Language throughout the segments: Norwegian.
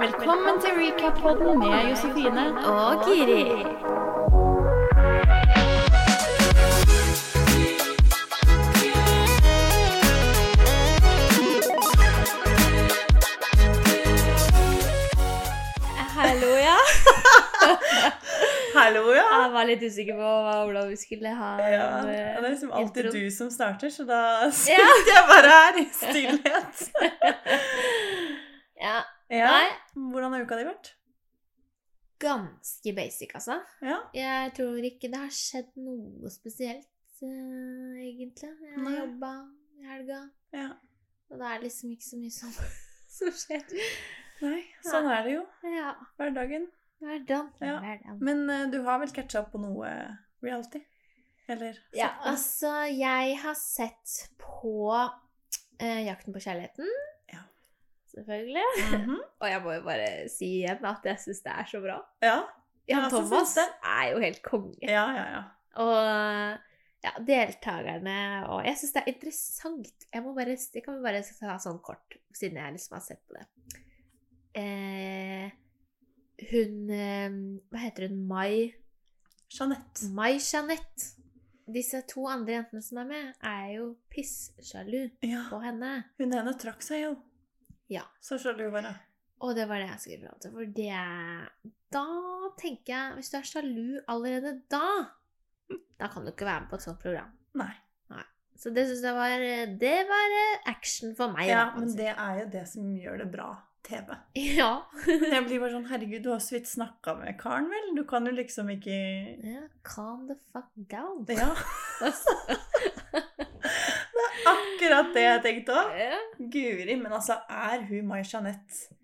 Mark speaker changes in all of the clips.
Speaker 1: Velkommen til Recap-podden med Josefine og Giri.
Speaker 2: Hallo, ja.
Speaker 3: Hallo, ja.
Speaker 2: Jeg var litt usikker på hva, hvordan vi skulle ha
Speaker 3: ja.
Speaker 2: en,
Speaker 3: Det
Speaker 2: eh,
Speaker 3: er liksom alltid
Speaker 2: intro.
Speaker 3: du som starter, så da sitter jeg bare her i stillhet.
Speaker 2: Ja.
Speaker 3: Ja.
Speaker 2: Nei,
Speaker 3: Hvordan har uka di vært?
Speaker 2: ganske basic, altså.
Speaker 3: Ja.
Speaker 2: Jeg tror ikke det har skjedd noe spesielt, eh, egentlig. Jeg har
Speaker 3: Nei.
Speaker 2: jobba i helga,
Speaker 3: ja.
Speaker 2: og det er liksom ikke så mye som, som skjer.
Speaker 3: Nei, sånn er det jo.
Speaker 2: Ja.
Speaker 3: Hverdagen.
Speaker 2: Hverdagen.
Speaker 3: Ja.
Speaker 2: hverdagen.
Speaker 3: Men eh, du har vel catcha opp på noe eh, reality? Eller?
Speaker 2: Ja, altså, jeg har sett på eh, Jakten på kjærligheten.
Speaker 3: Ja.
Speaker 2: Selvfølgelig.
Speaker 3: Mhm.
Speaker 2: Og jeg må jo bare si igjen at jeg syns det er så bra.
Speaker 3: Ja.
Speaker 2: Jan
Speaker 3: Ja, altså, så
Speaker 2: Thomas
Speaker 3: syns det.
Speaker 2: er jo helt konge.
Speaker 3: Ja, ja, ja.
Speaker 2: Og ja, deltakerne og Jeg syns det er interessant. Jeg, må bare, jeg kan bare ta sånn kort, siden jeg liksom har sett på det. Eh, hun eh, Hva heter hun? Mai?
Speaker 3: Jeanette.
Speaker 2: Mai Jeanette. Disse to andre jentene som er med, er jo pissjalu
Speaker 3: Ja.
Speaker 2: på henne.
Speaker 3: Hun ene trakk seg jo.
Speaker 2: Ja.
Speaker 3: Så sjalu var hun.
Speaker 2: Og det var det jeg skulle fram til. For det Da tenker jeg Hvis du er sjalu allerede da, da kan du ikke være med på et sånt program.
Speaker 3: Nei.
Speaker 2: Så det syns jeg var Det var eh, action for meg.
Speaker 3: Ja,
Speaker 2: da, kan
Speaker 3: men
Speaker 2: du si.
Speaker 3: det er jo det som gjør det bra TV.
Speaker 2: ja.
Speaker 3: Men jeg blir bare sånn Herregud, du har så vidt snakka med karen, vel? Du kan jo liksom ikke
Speaker 2: ja. Calm the fuck down.
Speaker 3: Ja.
Speaker 2: Altså,
Speaker 3: Akkurat det jeg tenkte òg.
Speaker 2: ja.
Speaker 3: Guri, men altså, er hun Mai Jeanette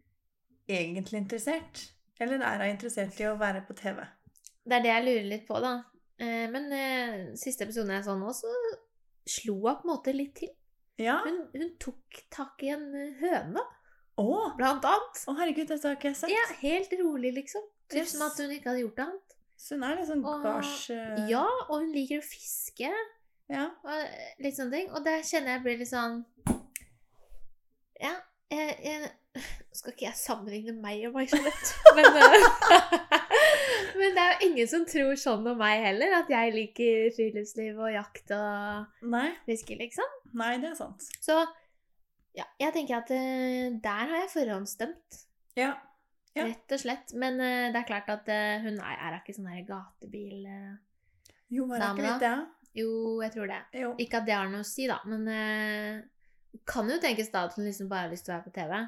Speaker 3: egentlig interessert? Eller er hun interessert i å være på TV?
Speaker 2: Det er det jeg lurer litt på, da. Eh, Men eh, siste episoden jeg så nå, så slo hun på en måte litt til.
Speaker 3: Ja.
Speaker 2: Hun, hun tok tak i en eh, høne,
Speaker 3: Å!
Speaker 2: blant annet.
Speaker 3: Å, herregud, dette har ikke jeg sett.
Speaker 2: Ja, helt rolig, liksom. Typ
Speaker 3: Yes.
Speaker 2: som at hun ikke hadde gjort annet.
Speaker 3: Så hun er litt sånn
Speaker 2: Og-
Speaker 3: gards... eh,
Speaker 2: Ja, og hun liker å fiske
Speaker 3: ja.
Speaker 2: og eh, litt sånne ting. Og det kjenner jeg blir litt sånn Ja, jeg, jeg Skal ikke jeg sammenligne meg og meg Jeanette, men eh, Men det er jo ingen som tror sånn om meg heller, at jeg liker friluftsliv og jakt og
Speaker 3: Nei,
Speaker 2: fiske, liksom.
Speaker 3: nei, det er sant.
Speaker 2: Så ja, jeg tenker at eh, der har jeg forhåndsstemt,
Speaker 3: Ja. Ja.
Speaker 2: rett og slett. Men eh, det er klart at eh, hun er, er ikke sånn her gatebil... eh.
Speaker 3: Jo, var det
Speaker 2: Damen,
Speaker 3: ikke litt det?
Speaker 2: Jo, jeg tror det.
Speaker 3: Jo.
Speaker 2: Ikke at det har noe å si, da, men eh, kan jo tenkes da at hun liksom bare har lyst til å være på TV.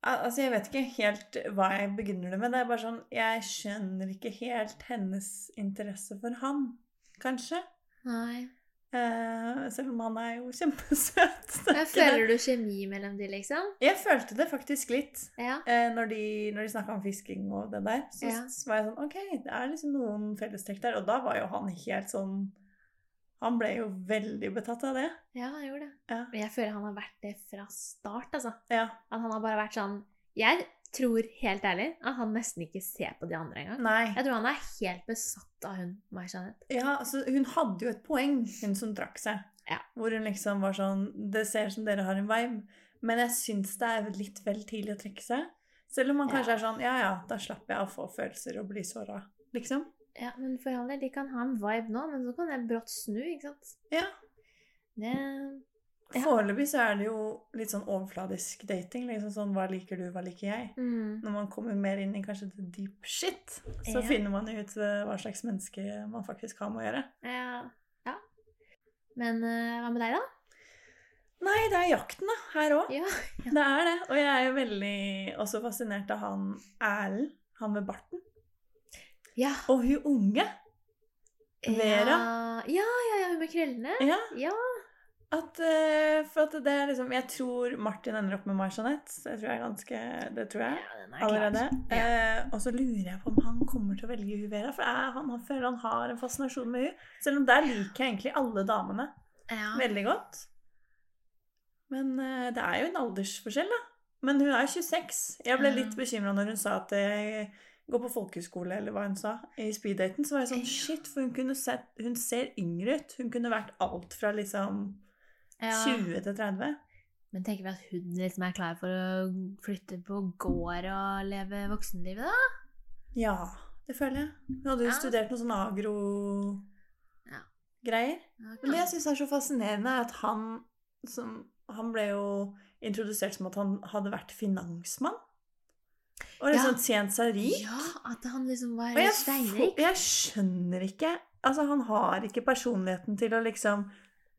Speaker 3: Al- Altså, jeg vet ikke helt hva jeg begrunner det med. Det er bare sånn Jeg skjønner ikke helt hennes interesse for han, kanskje.
Speaker 2: Nei.
Speaker 3: Eh, selv om han er jo kjempesøt. Det er
Speaker 2: Men
Speaker 3: ikke det.
Speaker 2: føler du kjemi mellom de, liksom?
Speaker 3: Jeg følte det faktisk litt.
Speaker 2: Ja.
Speaker 3: Eh, når de, når de snakka om fisking og det der, så
Speaker 2: Ja.
Speaker 3: s- var jeg sånn OK, det er liksom noen fellestrekk der. Og da var jo han helt sånn Han ble jo veldig betatt av det.
Speaker 2: ja, han gjorde det.
Speaker 3: Ja.
Speaker 2: Men jeg føler han har vært det fra start, altså.
Speaker 3: ja.
Speaker 2: At han har bare vært sånn Jeg tror, helt ærlig, at han nesten ikke ser på de andre engang.
Speaker 3: Nei.
Speaker 2: Jeg tror han er helt besatt av hun, Mai Jeanette.
Speaker 3: Ja, altså, hun hadde jo et poeng, hun som trakk seg.
Speaker 2: Ja.
Speaker 3: Hvor hun liksom var sånn Det ser ut som dere har en vibe, men jeg syns det er litt vel tidlig å trekke seg. Selv om man kanskje er sånn Ja ja, da slapper jeg av å få følelser og bli såra, liksom.
Speaker 2: Ja, men for all del, de kan ha en vibe nå, men så kan det brått snu, ikke sant?
Speaker 3: Ja.
Speaker 2: Det Ja.
Speaker 3: Foreløpig så er det jo litt sånn overfladisk dating. liksom sånn, Hva liker du, hva liker jeg?
Speaker 2: mm.
Speaker 3: Når man kommer mer inn i kanskje the deep shit, så
Speaker 2: Ja.
Speaker 3: finner man jo ut eh, hva slags menneske man faktisk har med å gjøre.
Speaker 2: Ja. ja. Men eh, hva med deg, da?
Speaker 3: Nei, det er jakten, da. Her òg.
Speaker 2: Ja,
Speaker 3: Det er det. Og jeg er jo veldig også fascinert av han Erlend. Han med barten.
Speaker 2: Ja.
Speaker 3: Og hun unge. Vera?
Speaker 2: Ja, ja, ja, ja, hun med krøllene.
Speaker 3: Ja.
Speaker 2: Ja.
Speaker 3: At, eh, for at det er liksom Jeg tror Martin ender opp med Mai-Jeanette. Det tror jeg er ganske Det tror jeg.
Speaker 2: den
Speaker 3: allerede. Eh, og så lurer jeg på om han kommer til å velge hun Vera, for jeg, han, han føler han har en fascinasjon med hun. Selv om der liker jeg egentlig alle damene
Speaker 2: Ja.
Speaker 3: veldig godt. Men eh, det er jo en aldersforskjell, da. Men hun er 26. Jeg ble
Speaker 2: Ja.
Speaker 3: litt bekymra når hun sa at jeg går på folkehøyskole, eller hva hun sa, i speeddaten. Så var jeg sånn
Speaker 2: Ja.
Speaker 3: shit, for hun, kunne sett, hun ser yngre ut. Hun kunne vært alt fra liksom
Speaker 2: Ja.
Speaker 3: 20 til 30.
Speaker 2: Men tenker vi at hun liksom er klar for å flytte på gård og leve voksenlivet, da?
Speaker 3: Ja, det føler jeg. Hun hadde jo
Speaker 2: Ja.
Speaker 3: studert noe sånn
Speaker 2: Ja.
Speaker 3: agro-greier. Men det jeg syns er så fascinerende, er at han som Han ble jo introdusert som at han hadde vært finansmann. Og liksom
Speaker 2: Ja.
Speaker 3: tjent seg rik.
Speaker 2: Ja, at han liksom var
Speaker 3: Og jeg, får-
Speaker 2: steinrik.
Speaker 3: jeg skjønner ikke Altså, han har ikke personligheten til å liksom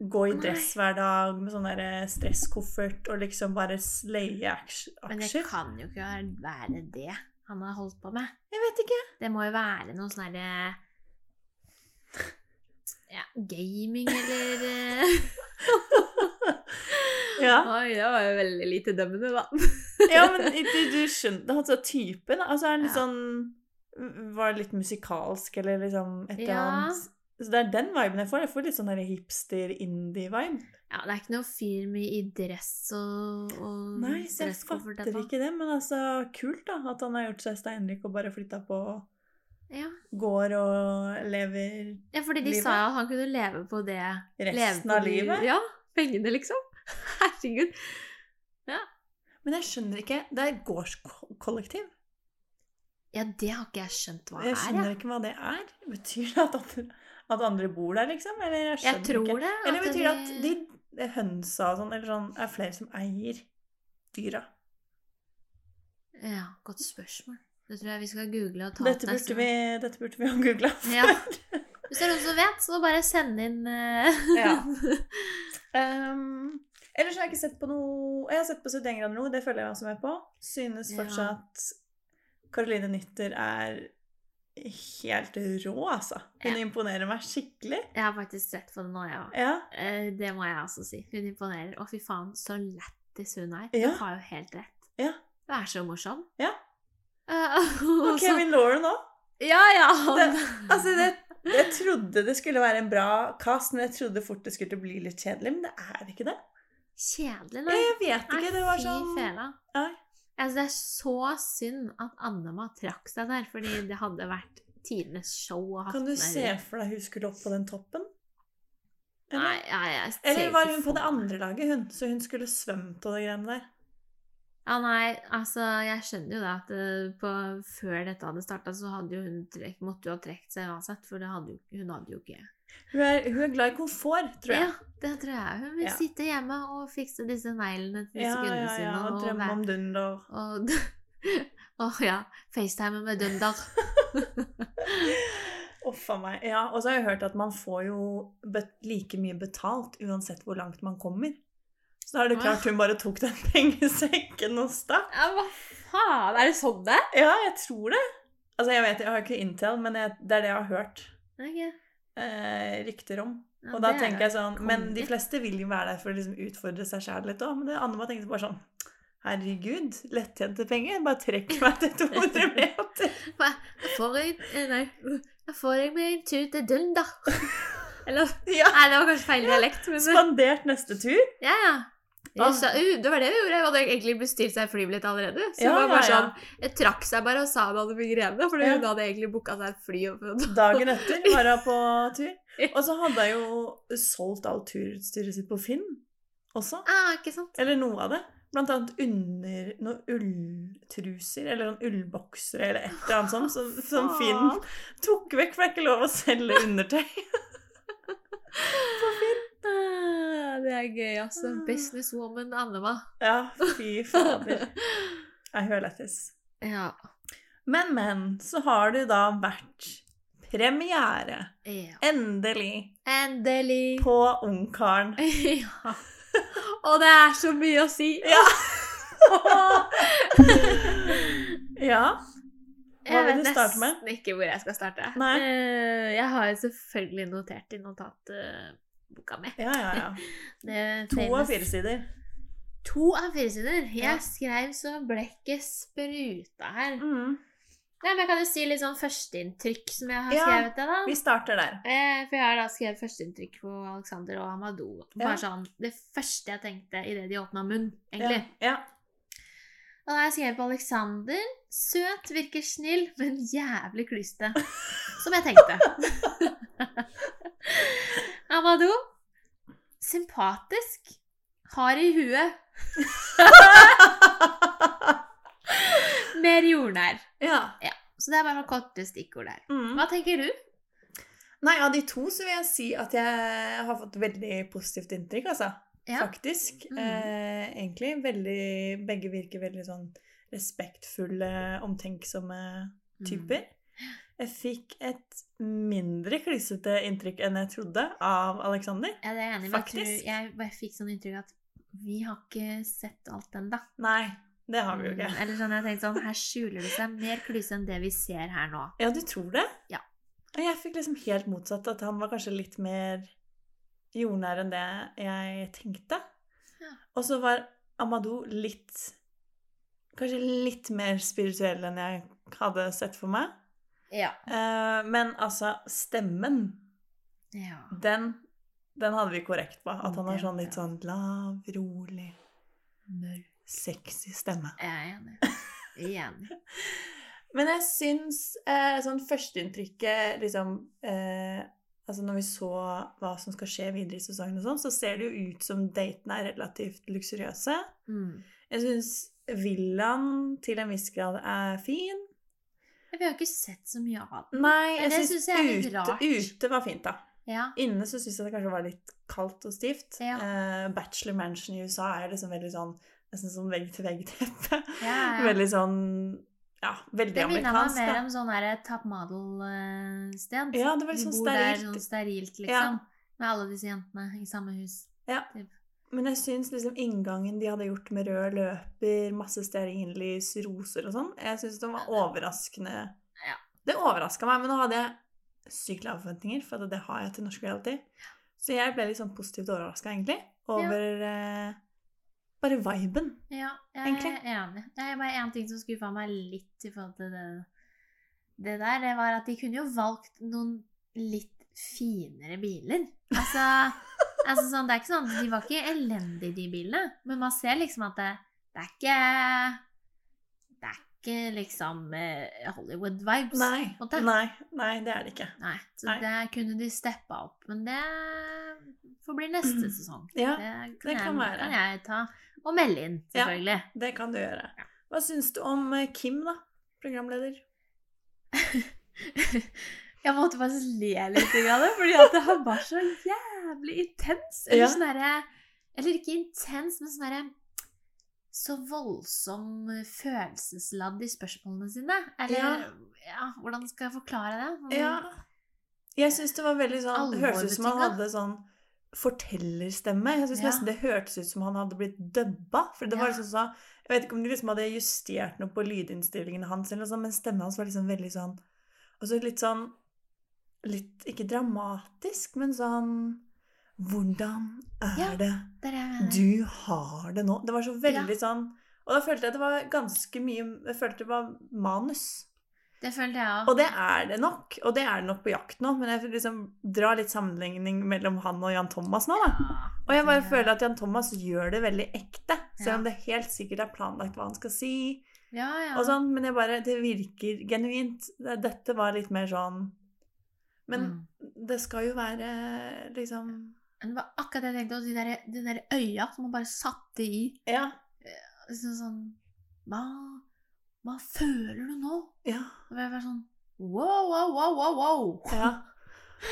Speaker 3: gå i
Speaker 2: Nei.
Speaker 3: dress hver dag med sånn derre stresskoffert og liksom bare slaye aks-
Speaker 2: Men det
Speaker 3: aksjer.
Speaker 2: kan jo ikke være det han har holdt på med.
Speaker 3: Jeg vet ikke.
Speaker 2: Det må jo være noe sånn herre ja, gaming eller eh.
Speaker 3: Ja,
Speaker 2: Oi, det var jo veldig lite dømmende, da.
Speaker 3: ja men du, du skjønte altså typen Altså, er han litt
Speaker 2: Ja.
Speaker 3: sånn Var litt musikalsk eller liksom et eller
Speaker 2: Ja.
Speaker 3: annet Så det er den viben jeg får. Jeg får litt sånn derre hipster-indie-vibe.
Speaker 2: Ja, det er ikke noe fyr med i dress og, og
Speaker 3: Nei, så jeg
Speaker 2: stresskoffert
Speaker 3: fatter
Speaker 2: etterpå.
Speaker 3: ikke det, men altså kult, da. At han har gjort seg steinrik og bare flytta på
Speaker 2: Ja.
Speaker 3: gård og lever
Speaker 2: ja, fordi de
Speaker 3: Livet.
Speaker 2: sa jo at han kunne leve på det. leve
Speaker 3: resten
Speaker 2: på
Speaker 3: av
Speaker 2: de-
Speaker 3: livet.
Speaker 2: Ja, pengene, liksom. Herregud.
Speaker 3: Men jeg skjønner ikke Det er gårdskollektiv.
Speaker 2: Ja, det har ikke jeg skjønt hva
Speaker 3: Jeg
Speaker 2: er. Jeg,
Speaker 3: skjønner ikke hva det er. Betyr det at andre, at andre bor der, liksom? Eller jeg skjønner
Speaker 2: jeg tror
Speaker 3: ikke.
Speaker 2: det.
Speaker 3: Eller betyr det at
Speaker 2: de-
Speaker 3: de de hønsa og sånn, eller sånn, er flere som eier dyra?
Speaker 2: Ja, godt spørsmål. Det tror jeg vi skal google og ta
Speaker 3: Dette
Speaker 2: opp neste
Speaker 3: burde, vi, dette burde vi ha googla før.
Speaker 2: Ja. gang. Hvis det er noen som vet, så bare send inn eh,
Speaker 3: Ja. Ehm, ellers har jeg ikke sett på noe Jeg har sett på 71 grader nord, det følger jeg også med på. Synes
Speaker 2: Ja.
Speaker 3: fortsatt Caroline Nytter er helt rå, altså. Hun imponerer meg skikkelig.
Speaker 2: Jeg har faktisk sett på det nå, jeg òg.
Speaker 3: Ja.
Speaker 2: Eh, Det må jeg også si. Hun imponerer. Å, fy faen, så lættis hun er.
Speaker 3: Ja.
Speaker 2: Hun har jo helt rett.
Speaker 3: Ja.
Speaker 2: Hun er så morsom.
Speaker 3: Ja.
Speaker 2: Eh, og
Speaker 3: Og
Speaker 2: så-
Speaker 3: Kevin Lauren òg.
Speaker 2: Ja, ja!
Speaker 3: Altså, det, jeg trodde det skulle være en bra cast, men jeg trodde fort det skulle bli litt kjedelig. Men det er ikke det.
Speaker 2: Kjedelig,
Speaker 3: Ja,
Speaker 2: nei.
Speaker 3: Jeg vet ikke. Det var sånn
Speaker 2: Fy fela.
Speaker 3: Nei.
Speaker 2: Altså, det er så synd at Annema trakk seg der, fordi det hadde vært tidenes show å ha
Speaker 3: Kan du
Speaker 2: den
Speaker 3: se
Speaker 2: der.
Speaker 3: for deg hun skulle opp på den toppen?
Speaker 2: Nei, nei, jeg ser
Speaker 3: Eller var
Speaker 2: ikke
Speaker 3: hun på
Speaker 2: for
Speaker 3: det
Speaker 2: meg.
Speaker 3: andre laget, hun? Så hun skulle svømt og de greiene der.
Speaker 2: Ja, nei, altså, jeg skjønner jo det at eh, på, før dette hadde starta, så hadde jo hun trek, måtte jo ha trukket seg uansett, for det hadde jo, hun hadde jo ikke
Speaker 3: Hun er, hun er glad i komfort, tror jeg.
Speaker 2: Ja, det tror jeg. Hun vil
Speaker 3: Ja.
Speaker 2: sitte hjemme og fikse disse neglene til disse
Speaker 3: Ja, ja,
Speaker 2: kundene
Speaker 3: ja,
Speaker 2: sine.
Speaker 3: og drømme
Speaker 2: være-
Speaker 3: om dund og
Speaker 2: Og, Åh, ja. FaceTime med Dunder.
Speaker 3: Uff a meg. Ja, og så har jeg hørt at man får jo bet like mye betalt uansett hvor langt man kommer. Så da er det
Speaker 2: Åh.
Speaker 3: klart hun bare tok den pengesekken og stakk.
Speaker 2: Ja, hva faen? Er det sånn det
Speaker 3: Ja, jeg tror det. Altså, jeg vet, jeg har ikke intel, men jeg, det er det jeg har hørt
Speaker 2: Okay.
Speaker 3: eh, rykter om.
Speaker 2: Ja,
Speaker 3: Og da
Speaker 2: det er
Speaker 3: tenker jeg sånn Men de
Speaker 2: konge.
Speaker 3: fleste vil jo være der for å liksom utfordre seg sjæl litt òg. Men det Anne tenkte bare sånn Herregud, lettjente penger. Bare trekk meg til 200 meter.
Speaker 2: Jeg får jeg, eh, nei, jeg får jeg meg en tur til Dunder. Eller
Speaker 3: Ja,
Speaker 2: Nei, det var kanskje feil dialekt. Men,
Speaker 3: Spandert neste tur.
Speaker 2: ja, ja.
Speaker 3: Ah.
Speaker 2: Russa, uh, det var det vi gjorde. Jeg hadde egentlig bestilt seg flybillett allerede. Så
Speaker 3: Ja,
Speaker 2: det var bare
Speaker 3: ja, ja.
Speaker 2: sånn, Jeg trakk seg bare og sa det hadde blitt grevende, for
Speaker 3: Ja.
Speaker 2: hun hadde egentlig booka seg et fly. Og,
Speaker 3: Dagen etter var hun på tur. Og så hadde hun jo solgt alt turutstyret sitt på Finn også.
Speaker 2: ah, ikke sant?
Speaker 3: Eller noe av det. Blant annet under noen ulltruser eller noen ullboksere eller et eller annet sånt som, som Finn tok vekk, for det er ikke lov å selge undertøy.
Speaker 2: Ah, Det er gøy, altså.
Speaker 3: Ah.
Speaker 2: Businesswoman Annema.
Speaker 3: Ja, fy fader. Jeg hører lættis.
Speaker 2: Ja.
Speaker 3: Men, men, så har det jo da vært premiere,
Speaker 2: ja.
Speaker 3: endelig,
Speaker 2: Endelig.
Speaker 3: på Ungkaren.
Speaker 2: Ja. Og det er så mye å si.
Speaker 3: Ja. Ja. Hva
Speaker 2: Jeg
Speaker 3: vil
Speaker 2: vet
Speaker 3: du starte med?
Speaker 2: nesten ikke hvor jeg skal starte.
Speaker 3: Nei.
Speaker 2: Eh, Jeg har jo selvfølgelig notert i notatboka mi.
Speaker 3: Ja, ja, ja.
Speaker 2: Det
Speaker 3: To
Speaker 2: famous-
Speaker 3: av fire sider.
Speaker 2: To av fire sider! Jeg
Speaker 3: Ja.
Speaker 2: skrev så blekket spruta her. Nei, men Jeg kan jo si litt sånn førsteinntrykk som jeg har
Speaker 3: Ja.
Speaker 2: skrevet det, da.
Speaker 3: Vi starter der.
Speaker 2: Eh, For jeg har da skrevet førsteinntrykk på Alexander og Amadou. Bare
Speaker 3: Ja.
Speaker 2: sånn, Det første jeg tenkte idet de åpna munn, egentlig.
Speaker 3: Ja.
Speaker 2: Og da har jeg skrevet på Alexander. Søt, virker snill, men jævlig klyste. Som jeg tenkte. Amadou. Sympatisk. Hard i huet. Mer jordnær.
Speaker 3: ja.
Speaker 2: Så det er bare noen korte stikkord der.
Speaker 3: Mm.
Speaker 2: Hva tenker du?
Speaker 3: Nei, av de to så vil jeg si at jeg har fått veldig positivt inntrykk, altså.
Speaker 2: Ja.
Speaker 3: Faktisk.
Speaker 2: Mhm.
Speaker 3: Eh, egentlig. Veldig, begge virker veldig sånn respektfulle, omtenksomme
Speaker 2: Mm.
Speaker 3: typer. Jeg fikk et mindre klissete inntrykk enn jeg trodde av Alexander.
Speaker 2: Ja, det er jeg enig, i, men jeg tror
Speaker 3: Faktisk.
Speaker 2: jeg bare fikk sånn inntrykk at vi har ikke sett alt ennå.
Speaker 3: Nei, det har vi jo ikke.
Speaker 2: Eller sånn, jeg tenkte sånn, her skjuler det seg mer klyse enn det vi ser her nå.
Speaker 3: Ja, du tror det?
Speaker 2: Ja.
Speaker 3: Og jeg fikk liksom helt motsatt, at han var kanskje litt mer jordnær enn det jeg tenkte.
Speaker 2: Ja.
Speaker 3: Og så var Amadou litt Kanskje litt mer spirituell enn jeg hadde sett for meg.
Speaker 2: Ja.
Speaker 3: Eh, men altså, stemmen,
Speaker 2: Ja.
Speaker 3: den, den hadde vi korrekt på. At han har
Speaker 2: Den,
Speaker 3: sånn litt
Speaker 2: ja.
Speaker 3: sånn lav, rolig,
Speaker 2: Mørk.
Speaker 3: sexy stemme.
Speaker 2: Jeg er enig. Igjen.
Speaker 3: Men jeg syns eh, sånn førsteinntrykket liksom eh, Altså når vi så hva som skal skje videre i sesongen og sånn, så ser det jo ut som datene er relativt luksuriøse.
Speaker 2: Mm.
Speaker 3: Jeg syns villaen til en viss grad er fin.
Speaker 2: Men Vi har ikke sett så mye av den.
Speaker 3: Nei,
Speaker 2: Men
Speaker 3: jeg
Speaker 2: det
Speaker 3: syns
Speaker 2: synes jeg er litt
Speaker 3: ute,
Speaker 2: rart.
Speaker 3: ute var fint, da.
Speaker 2: Ja.
Speaker 3: Inne så syns jeg det kanskje var litt kaldt og stivt.
Speaker 2: Ja.
Speaker 3: Eh, bachelor mansion i USA er liksom veldig sånn Nesten sånn vegg-til-vegg-teppe.
Speaker 2: ja, ja.
Speaker 3: Veldig sånn Ja, veldig
Speaker 2: Det minner meg
Speaker 3: amerikansk.
Speaker 2: mer
Speaker 3: da.
Speaker 2: om sånn der top model-sted.
Speaker 3: Ja, det var litt
Speaker 2: Vi
Speaker 3: sånn
Speaker 2: bor der
Speaker 3: sterilt.
Speaker 2: sånn sterilt,
Speaker 3: Ja.
Speaker 2: liksom. Med alle disse jentene i samme hus.
Speaker 3: Ja.
Speaker 2: Typ.
Speaker 3: Men jeg syns liksom inngangen de hadde gjort med rød løper, masse stearinlys, roser og sånn, jeg syns den var overraskende
Speaker 2: Ja.
Speaker 3: Det overraska meg, men nå hadde jeg sykt lave forventninger, for at det har jeg til norsk reality. Så jeg ble litt sånn positivt overraska, egentlig, over eh, bare viben.
Speaker 2: Ja, jeg
Speaker 3: Egentlig.
Speaker 2: er enig. Det er bare én ting som skuffa meg litt i forhold til det, det der. Det var at de kunne jo valgt noen litt finere biler. Altså, altså sånn, det er ikke sånn De var ikke elendige, de bilene. Men man ser liksom at det, det er ikke Det er ikke liksom eh, Hollywood-vibes.
Speaker 3: Nei,
Speaker 2: på en måte.
Speaker 3: nei, nei, det er det ikke.
Speaker 2: Nei, Så
Speaker 3: Nei.
Speaker 2: der kunne de steppa opp. Men det får bli neste sesong.
Speaker 3: Mm. Ja,
Speaker 2: Det kan,
Speaker 3: det kan
Speaker 2: jeg,
Speaker 3: være.
Speaker 2: kan jeg ta og melde inn,
Speaker 3: Ja.
Speaker 2: selvfølgelig.
Speaker 3: det kan du gjøre.
Speaker 2: Ja.
Speaker 3: Hva syns du om eh, Kim, da? Programleder.
Speaker 2: Jeg måtte faktisk le litt av det, fordi at han var så jævlig intens. Eller
Speaker 3: Ja.
Speaker 2: sånn derre Eller ikke intens, men sånn derre Så voldsom følelsesladd i spørsmålene sine. Eller ja.
Speaker 3: Ja.
Speaker 2: hvordan skal jeg forklare det? Sånn-
Speaker 3: Ja. Jeg syns det var veldig sånn Det
Speaker 2: Alvor
Speaker 3: hørtes ut som han
Speaker 2: betinga.
Speaker 3: hadde sånn fortellerstemme. Jeg synes
Speaker 2: Ja.
Speaker 3: nesten Det hørtes ut som han hadde blitt dubba. For det var
Speaker 2: Ja.
Speaker 3: liksom sånn Jeg vet ikke om de liksom hadde justert noe på lydinnstillingene hans, eller noe sånt, men stemmen hans var liksom veldig sånn Og så litt sånn Litt ikke dramatisk, men sånn Hvordan er
Speaker 2: Ja.
Speaker 3: det
Speaker 2: Det er det jeg mener.
Speaker 3: du har det nå? Det var så veldig sånn Og da følte jeg det var ganske mye Jeg følte det var manus.
Speaker 2: Det følte jeg òg.
Speaker 3: Og det er det nok. Og det er det nok på jakt nå, men jeg vil liksom dra litt sammenligning mellom han og Jan Thomas nå, da. Og jeg bare føler at Jan Thomas gjør det veldig ekte, selv om det helt sikkert er planlagt hva han skal si.
Speaker 2: ja, ja.
Speaker 3: og sånn, Men jeg bare, det virker genuint. Det- Dette var litt mer sånn Men
Speaker 2: Mm.
Speaker 3: det skal jo være liksom
Speaker 2: Men det var akkurat det jeg tenkte, og de der, de der øya som han bare satte i.
Speaker 3: Ja.
Speaker 2: Liksom sånn Hva, hva føler du nå?
Speaker 3: Ja.
Speaker 2: Og jeg var sånn Wow, wow, wow, wow, wow.
Speaker 3: ja.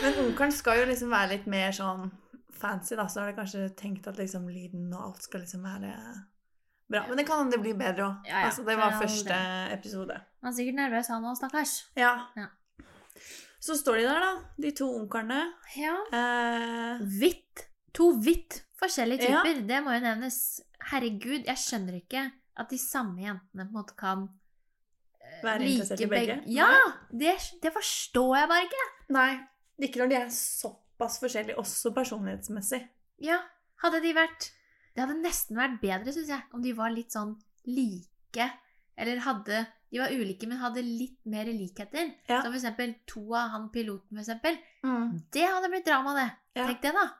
Speaker 3: Men onkelen skal jo liksom være litt mer sånn fancy, da. Så har de kanskje tenkt at liksom lyden og alt skal liksom være bra. Men det kan det bli bedre òg.
Speaker 2: Ja, ja.
Speaker 3: Altså, det
Speaker 2: For
Speaker 3: var
Speaker 2: all
Speaker 3: første episode.
Speaker 2: Han er sikkert nervøs, han òg, stakkars.
Speaker 3: Ja.
Speaker 2: Ja.
Speaker 3: Så står de der, da, de to onklene.
Speaker 2: Ja.
Speaker 3: Eh,
Speaker 2: Hvitt. To hvitt forskjellige
Speaker 3: Ja.
Speaker 2: typer. Det må jo nevnes. Herregud, jeg skjønner ikke at de samme jentene på en måte kan eh,
Speaker 3: Være interessert i begge.
Speaker 2: Ja! Det, det forstår jeg bare ikke.
Speaker 3: nei, ikke når de er såpass forskjellige, også personlighetsmessig.
Speaker 2: Ja, hadde de vært Det hadde nesten vært bedre, syns jeg, om de var litt sånn like. Eller hadde De var ulike, men hadde litt mer likheter.
Speaker 3: Ja.
Speaker 2: Som for eksempel to av han piloten, for eksempel. Det hadde blitt drama, det.
Speaker 3: Ja.
Speaker 2: Tenk det, da.
Speaker 3: Det hadde vært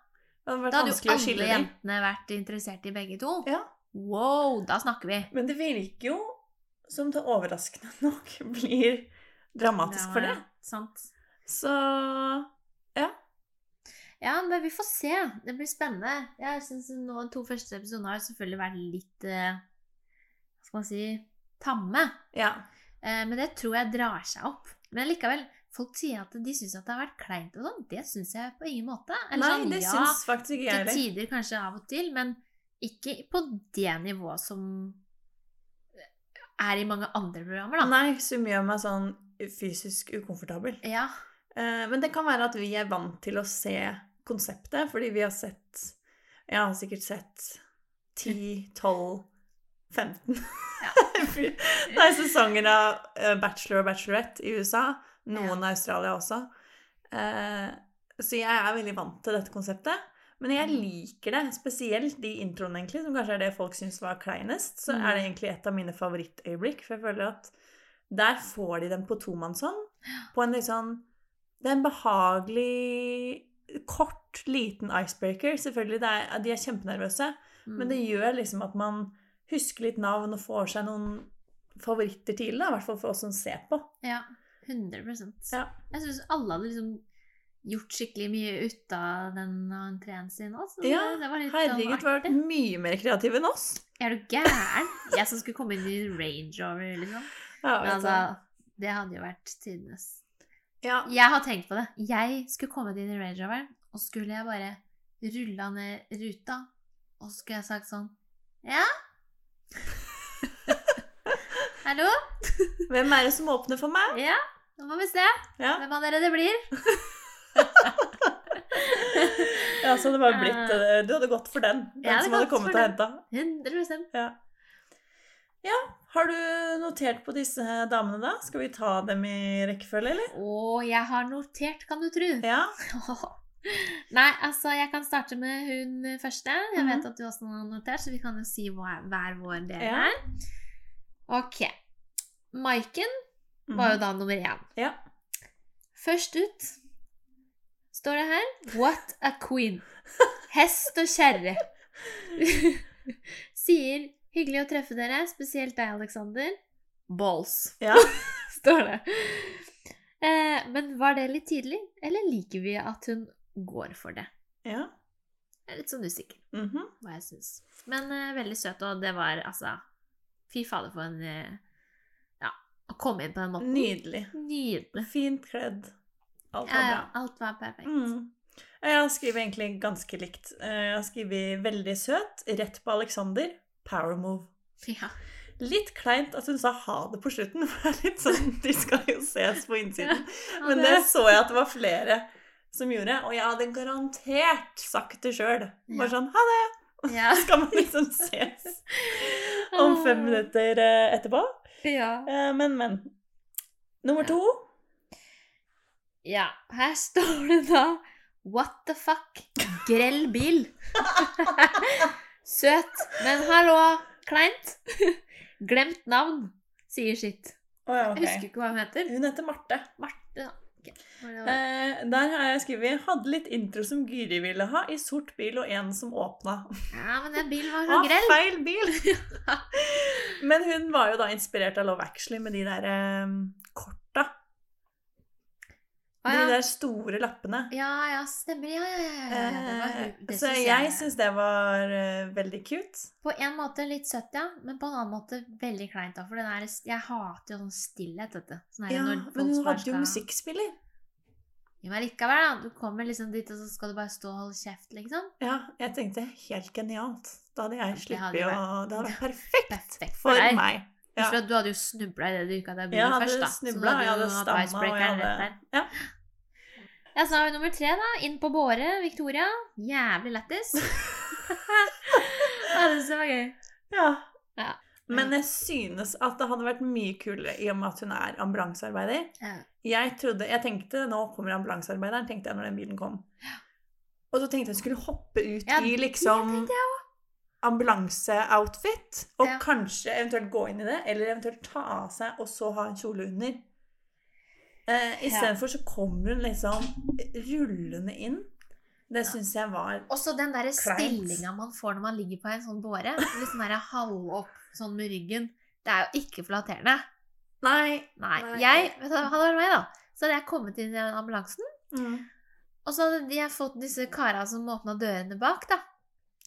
Speaker 2: Mm. Da hadde jo
Speaker 3: vanskelig å skille
Speaker 2: alle
Speaker 3: dem.
Speaker 2: jentene vært interessert i begge to.
Speaker 3: Ja.
Speaker 2: Wow, da snakker vi.
Speaker 3: Men det virker jo som det overraskende nok blir dramatisk for det.
Speaker 2: Sant.
Speaker 3: Så
Speaker 2: Ja, men vi får se. Det blir spennende. Jeg synes nå De to første episodene har selvfølgelig vært litt eh, Hva skal man si tamme.
Speaker 3: Ja.
Speaker 2: Eh, men det tror jeg drar seg opp. Men likevel, folk sier at de syns at det har vært kleint og sånn. Det syns jeg på ingen måte. Eller
Speaker 3: Nei,
Speaker 2: sånn,
Speaker 3: det
Speaker 2: ja,
Speaker 3: syns faktisk ikke jeg
Speaker 2: Til
Speaker 3: heller.
Speaker 2: tider kanskje av og til, men ikke på det nivået som er i mange andre programmer, da.
Speaker 3: Nei, som gjør meg sånn fysisk ukomfortabel.
Speaker 2: Ja.
Speaker 3: Eh, Men det kan være at vi er vant til å se konseptet, fordi vi har sett Jeg har sikkert sett 10, 12, 15 Det er sesonger av eh, Bachelor og Bachelorette i USA. Noen av Australia også. Eh, Så jeg er veldig vant til dette konseptet. Men jeg liker det, spesielt de introene, egentlig, som kanskje er det folk syns var kleinest. Så
Speaker 2: Mm.
Speaker 3: er det egentlig et av mine favorittøyeblikk, for jeg føler at der får de dem på tomannshånd. På en litt sånn Det er en behagelig, kort, liten icebreaker. Selvfølgelig, det er, de er kjempenervøse.
Speaker 2: Mm.
Speaker 3: Men det gjør liksom at man husker litt navn og får seg noen favoritter tidlig, da, i hvert fall for oss som ser på.
Speaker 2: Ja, 100
Speaker 3: Ja.
Speaker 2: Jeg syns alle hadde liksom gjort skikkelig mye ut av den entreen sin òg.
Speaker 3: Ja,
Speaker 2: det var litt sånn
Speaker 3: Herregud, du har vært mye mer kreativ enn oss.
Speaker 2: Er du gæren? Jeg som skulle komme inn i Range Rover, liksom.
Speaker 3: Ja, vet
Speaker 2: Men
Speaker 3: du.
Speaker 2: altså, det hadde jo vært tidenes
Speaker 3: ja.
Speaker 2: Jeg har tenkt på det. Jeg skulle kommet inn i Range Roveren, og skulle jeg bare rulla ned ruta, og så skulle jeg sagt sånn Ja? Hallo?
Speaker 3: Hvem er det som åpner for meg?
Speaker 2: Ja? Nå må vi se
Speaker 3: Ja,
Speaker 2: hvem av dere det blir.
Speaker 3: ja så det bare blitt eh, Du hadde gått for den. Den
Speaker 2: Jeg hadde
Speaker 3: som hadde
Speaker 2: gått
Speaker 3: kommet
Speaker 2: for
Speaker 3: og
Speaker 2: den.
Speaker 3: henta.
Speaker 2: 100
Speaker 3: Ja. ja. Har du notert på disse damene, da? Skal vi ta dem i rekkefølge, eller?
Speaker 2: Og jeg har notert, kan du tru.
Speaker 3: Ja.
Speaker 2: Nei, altså, jeg kan starte med hun første. Jeg
Speaker 3: Mhm.
Speaker 2: vet at du også har notert, så vi kan jo si hva- hver vår del
Speaker 3: Ja.
Speaker 2: er. Ok. Maiken var jo da nummer én.
Speaker 3: Mhm. Ja.
Speaker 2: Først ut står det her What a queen! Hest og kjerre. Sier 'hyggelig å treffe dere', spesielt deg, Alexander. Balls
Speaker 3: Ja.
Speaker 2: står det. Eh, men var det litt tidlig, eller liker vi at hun går for det?
Speaker 3: Mhm. ja.
Speaker 2: Jeg er litt sånn usikker
Speaker 3: Mhm.
Speaker 2: hva jeg syns. Men eh, veldig søt, og det var altså Fy fader, for en eh, Ja, å komme inn på den måten.
Speaker 3: Nydelig.
Speaker 2: Nydelig.
Speaker 3: Fint kledd. Alt
Speaker 2: Ja,
Speaker 3: var
Speaker 2: ja,
Speaker 3: bra.
Speaker 2: Eh, alt var perfekt.
Speaker 3: Mm. Jeg har skrevet egentlig ganske likt. Eh, Jeg har skrevet veldig søt, rett på Alexander, power move.
Speaker 2: Ja.
Speaker 3: Litt kleint at hun sa ha det på slutten. for det er Litt sånn, De skal jo ses på innsiden.
Speaker 2: Ja,
Speaker 3: Men det
Speaker 2: det-
Speaker 3: så jeg at det var flere som gjorde, og jeg hadde garantert sagt det sjøl. Bare
Speaker 2: Ja.
Speaker 3: sånn ha det,
Speaker 2: ja. Ah.
Speaker 3: skal man liksom ses om fem minutter eh, etterpå.
Speaker 2: Ja.
Speaker 3: Eh, Men, men. Nummer to.
Speaker 2: ja. Her står det da What the fuck? Grell bil. Søt, men hallo, kleint. Glemt navn, sier sitt.
Speaker 3: Å ja,
Speaker 2: Jeg husker
Speaker 3: ok.
Speaker 2: ikke hva hun heter.
Speaker 3: Hun heter Marte.
Speaker 2: Marte, da. Ok, var det-
Speaker 3: Eh, der har jeg skrevet 'Hadde litt intro som Guri ville ha, i sort bil og en som åpna'.
Speaker 2: Ja, men den bilen var så
Speaker 3: Ah,
Speaker 2: grell.
Speaker 3: feil bil! Men hun var jo da inspirert av Love Actually med de der eh, korta.
Speaker 2: Å,
Speaker 3: De
Speaker 2: ja.
Speaker 3: der store lappene.
Speaker 2: ja, ja, stemmer. Ja, ja, ja. ja, ja. Det var hun.
Speaker 3: Eh,
Speaker 2: Det
Speaker 3: så
Speaker 2: synes
Speaker 3: jeg syns det var eh, veldig cute.
Speaker 2: På en måte litt søtt, ja, men på en annen måte veldig kleint. da, For den er, jeg hater jo sånn stillhet, vet du. Sånn her
Speaker 3: Ja,
Speaker 2: når
Speaker 3: men
Speaker 2: folk sånn-
Speaker 3: hun
Speaker 2: bare
Speaker 3: hadde jo
Speaker 2: skal-
Speaker 3: musikkspiller.
Speaker 2: Jo, men likevel, da. Du kommer liksom dit, og så skal du bare stå og holde kjeft, liksom.
Speaker 3: Ja, jeg tenkte helt genialt. Da hadde jeg
Speaker 2: Det hadde
Speaker 3: sluppet å Det hadde vært perfekt
Speaker 2: Perfekt for
Speaker 3: for
Speaker 2: deg.
Speaker 3: meg. Ja.
Speaker 2: Husk at du hadde jo snubla idet du gikk av deg
Speaker 3: Jeg
Speaker 2: bilen
Speaker 3: hadde
Speaker 2: først, da. Så
Speaker 3: snubla,
Speaker 2: da
Speaker 3: jeg
Speaker 2: hadde
Speaker 3: hadde
Speaker 2: du hatt
Speaker 3: stamma, og jeg
Speaker 2: icebreakeren rett
Speaker 3: hadde
Speaker 2: der.
Speaker 3: ja.
Speaker 2: Ja, så har vi nummer tre, da. Inn på Båre. Victoria. Jævlig lættis. ja, det synes jeg var gøy.
Speaker 3: Ja.
Speaker 2: Ja.
Speaker 3: Men jeg synes at det hadde vært mye kulere i og med at hun er ambulansearbeider.
Speaker 2: Ja.
Speaker 3: Jeg trodde, jeg tenkte, nå kommer ambulansearbeideren, tenkte jeg når den bilen kom. Og så tenkte jeg hun skulle hoppe ut
Speaker 2: Ja,
Speaker 3: i liksom ambulanseoutfit, og
Speaker 2: Ja.
Speaker 3: kanskje eventuelt gå inn i det, eller eventuelt ta av seg og så ha en kjole under. Eh, Istedenfor så kommer hun liksom rullende inn. Det syns jeg var
Speaker 2: Også den derre
Speaker 3: Kleint.
Speaker 2: stillinga man får når man ligger på en sånn båre. Litt sånn derre halv opp sånn med ryggen. Det er jo ikke flatterende.
Speaker 3: Nei.
Speaker 2: Nei.
Speaker 3: Nei.
Speaker 2: Jeg, vet du, hva, hadde det vært meg, da, så hadde jeg kommet inn i den ambulansen,
Speaker 3: Mm.
Speaker 2: Og så hadde jeg fått disse kara som åpna dørene bak, da,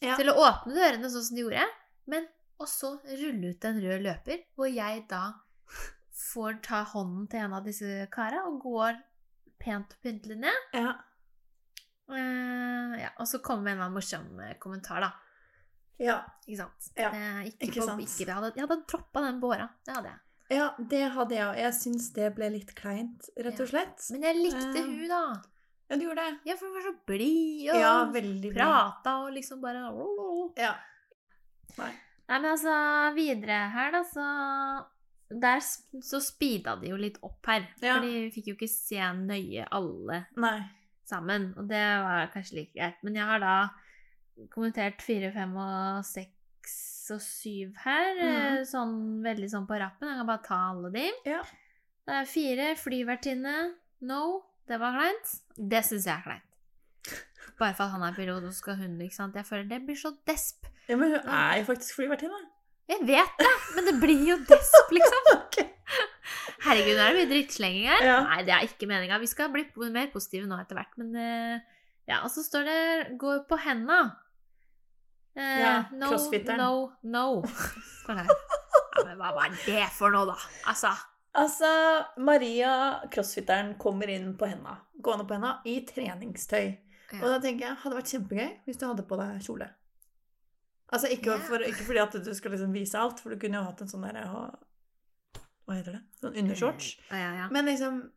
Speaker 3: Ja.
Speaker 2: til å åpne dørene sånn som de gjorde. Men og så rulle ut en rød løper, hvor jeg da får ta hånden til en av disse kara og går pent og pyntelig ned.
Speaker 3: Ja.
Speaker 2: Eh, ja, og så kommer en eller annen morsom eh, kommentar, da.
Speaker 3: Ja.
Speaker 2: Ikke sant?
Speaker 3: Ja,
Speaker 2: Eh, ikke
Speaker 3: ikke
Speaker 2: på,
Speaker 3: sant.
Speaker 2: Ikke, jeg hadde, jeg hadde droppa den båra. Det hadde jeg.
Speaker 3: ja, det hadde jeg òg. Jeg syns det ble litt kleint, rett og slett.
Speaker 2: Men jeg likte
Speaker 3: Eh.
Speaker 2: hun, da.
Speaker 3: Ja, du gjorde det.
Speaker 2: Ja, for hun var så blid og
Speaker 3: Ja, veldig bra.
Speaker 2: prata og liksom bare
Speaker 3: Ja.
Speaker 2: Nei, men altså, videre her, da, så Der sp- så speeda de jo litt opp her.
Speaker 3: Ja.
Speaker 2: Fordi vi fikk jo ikke se nøye alle
Speaker 3: Nei.
Speaker 2: sammen. Og det var kanskje like greit. Men jeg har da kommentert fire, fem og seks og syv her.
Speaker 3: Mhm.
Speaker 2: eh, Sånn veldig sånn på rappen. Jeg kan bare ta alle de.
Speaker 3: Ja.
Speaker 2: Det er fire. Flyvertinne. No. Det var kleint. Det syns jeg er kleint. Bare for at han er pilot, og så skal hun, ikke sant. Jeg føler det blir så desp.
Speaker 3: Ja, men hun er jo faktisk flyvertinne.
Speaker 2: Jeg vet det, men det blir jo desp, liksom.
Speaker 3: Okay.
Speaker 2: Herregud, nå er det mye drittslenging her.
Speaker 3: Ja.
Speaker 2: Nei, det er ikke meninga. Vi skal bli po- mer positive nå etter hvert, men eh, Ja, og så står det 'gå på henda'. Eh,
Speaker 3: Ja,
Speaker 2: no,
Speaker 3: crossfitteren.
Speaker 2: No, no. Står det her. Ja, men hva var det for noe, da? Altså
Speaker 3: Altså, Maria, crossfitteren, kommer inn på henda, gående på henda, i treningstøy.
Speaker 2: Ja.
Speaker 3: Og da tenker jeg, hadde vært kjempegøy hvis du hadde på deg kjole. Altså, ikke,
Speaker 2: Ja.
Speaker 3: for, ikke fordi at du skal liksom vise alt, for du kunne jo hatt en sånn der ha- Hva heter det? Sånn undershorts.
Speaker 2: Ja, ja, ja.
Speaker 3: Men liksom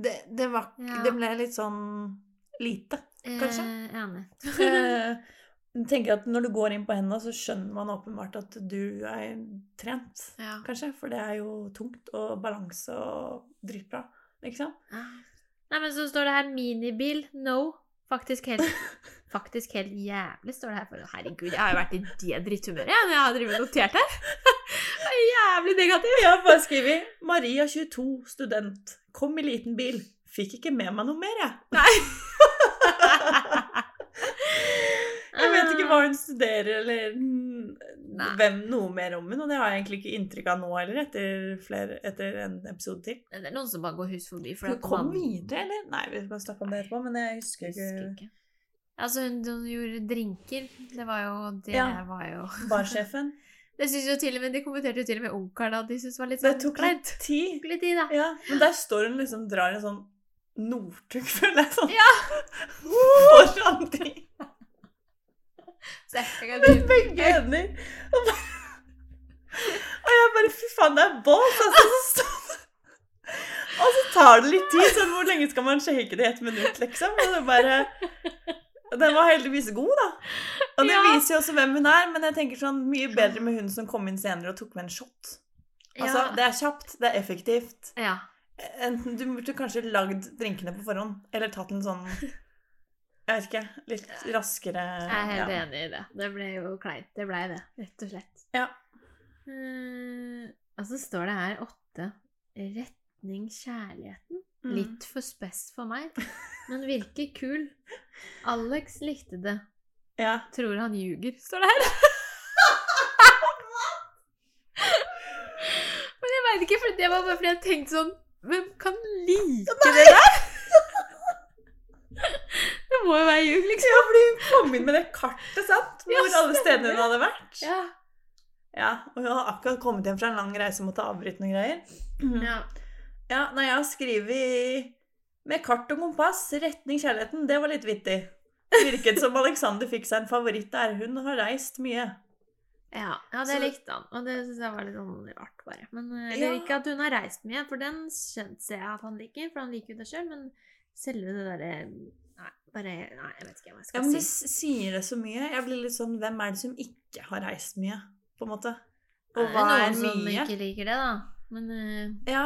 Speaker 3: Det, det, var,
Speaker 2: Ja.
Speaker 3: det ble litt sånn lite. Kanskje?
Speaker 2: Eh, enig.
Speaker 3: Eh, Jeg tenker at Når du går inn på henda, så skjønner man åpenbart at du er trent.
Speaker 2: Ja.
Speaker 3: Kanskje, for det er jo tungt og balanse og dritbra. Ikke sant?
Speaker 2: Ja. Nei, men så står det her 'minibil'. No. Faktisk helt, faktisk helt jævlig står det her. For. Herregud, jeg har jo vært i det dritthumøret jeg, når jeg har drevet og notert her. Det er jævlig negativ.
Speaker 3: Jeg har bare skrevet 'Maria 22, student. Kom i liten bil. Fikk ikke med meg noe mer, jeg'. Jeg vet ikke hva hun studerer, eller
Speaker 2: Nei.
Speaker 3: mm, hvem noe mer om henne. Og det har jeg egentlig ikke inntrykk av nå heller, etter, flere, etter en episode til.
Speaker 2: Men Eh, Det er noen som bare går hus forbi. For
Speaker 3: Hun kom
Speaker 2: man-
Speaker 3: videre, eller? Nei, vi kan snakke om det etterpå, men jeg husker
Speaker 2: Husker
Speaker 3: ikke
Speaker 2: ikke. Altså, hun, hun gjorde drinker. Det var jo Det
Speaker 3: Ja.
Speaker 2: var jo
Speaker 3: Barsjefen.
Speaker 2: Det synes jo til og med De kommenterte jo til og med onkelen at de syntes var litt
Speaker 3: Det
Speaker 2: sånn
Speaker 3: tok
Speaker 2: kleint.
Speaker 3: litt tid.
Speaker 2: Tok litt tid, da.
Speaker 3: Ja, men der står hun liksom drar en sånn Northug, føler jeg. Sånn.
Speaker 2: Ja.
Speaker 3: Foran de
Speaker 2: Så jeg kan
Speaker 3: med begge hender. Og, bare, og jeg bare Fy faen, det er bås! Altså, så står det Og så tar det litt tid. Sånn, hvor lenge skal man shake det i ett minutt, liksom? Og det bare Den var heldigvis god, da. Og det
Speaker 2: Ja.
Speaker 3: viser jo også hvem hun er, men jeg tenker sånn mye bedre med hun som kom inn senere og tok med en shot. Altså,
Speaker 2: Ja.
Speaker 3: Det er kjapt, det er effektivt.
Speaker 2: ja.
Speaker 3: Eh, Enten du burde kanskje lagd drinkene på forhånd, eller tatt en sånn Jeg vet ikke. Litt raskere
Speaker 2: Jeg er helt
Speaker 3: ja.
Speaker 2: enig i det. Det ble jo kleint. Det blei det, rett og slett.
Speaker 3: Ja.
Speaker 2: Eh, og så står det her åtte. Retning kjærligheten.
Speaker 3: Mm.
Speaker 2: Litt for spess for meg, men virker kul. Alex likte det.
Speaker 3: Ja.
Speaker 2: Tror han ljuger, står det her. men jeg veit ikke, for det var bare fordi jeg tenkte sånn Hvem kan like det der? det må jo være ljug, liksom.
Speaker 3: ja, fordi hun kom inn med det kartet, sant? Hvor
Speaker 2: Ja,
Speaker 3: alle stedene hun hadde vært.
Speaker 2: Ja.
Speaker 3: Ja, Og hun hadde akkurat kommet hjem fra en lang reise og måtte avbryte noen greier. Mhm.
Speaker 2: ja.
Speaker 3: Ja, nei, jeg har skrevet med kart og kompass, retning kjærligheten. Det var litt vittig. Virket som Alexander fikk seg en favoritt der. Hun har reist mye.
Speaker 2: Ja, ja det
Speaker 3: Så-
Speaker 2: likte han, og det syns jeg var litt sånn rart, bare. Men eh, jeg
Speaker 3: Ja.
Speaker 2: liker ikke at hun har reist mye, for den skjøn- ser jeg at han liker, for han liker jo det sjøl, men selve det derre Nei, bare Nei, jeg vet ikke hva jeg
Speaker 3: Ja,
Speaker 2: skal
Speaker 3: men det
Speaker 2: si.
Speaker 3: s- sier det så mye. Jeg blir litt sånn Hvem er det som ikke har reist mye, på en måte? Og hva
Speaker 2: det
Speaker 3: er
Speaker 2: noen som
Speaker 3: mye?
Speaker 2: ikke liker det, da. Men eh,
Speaker 3: Ja.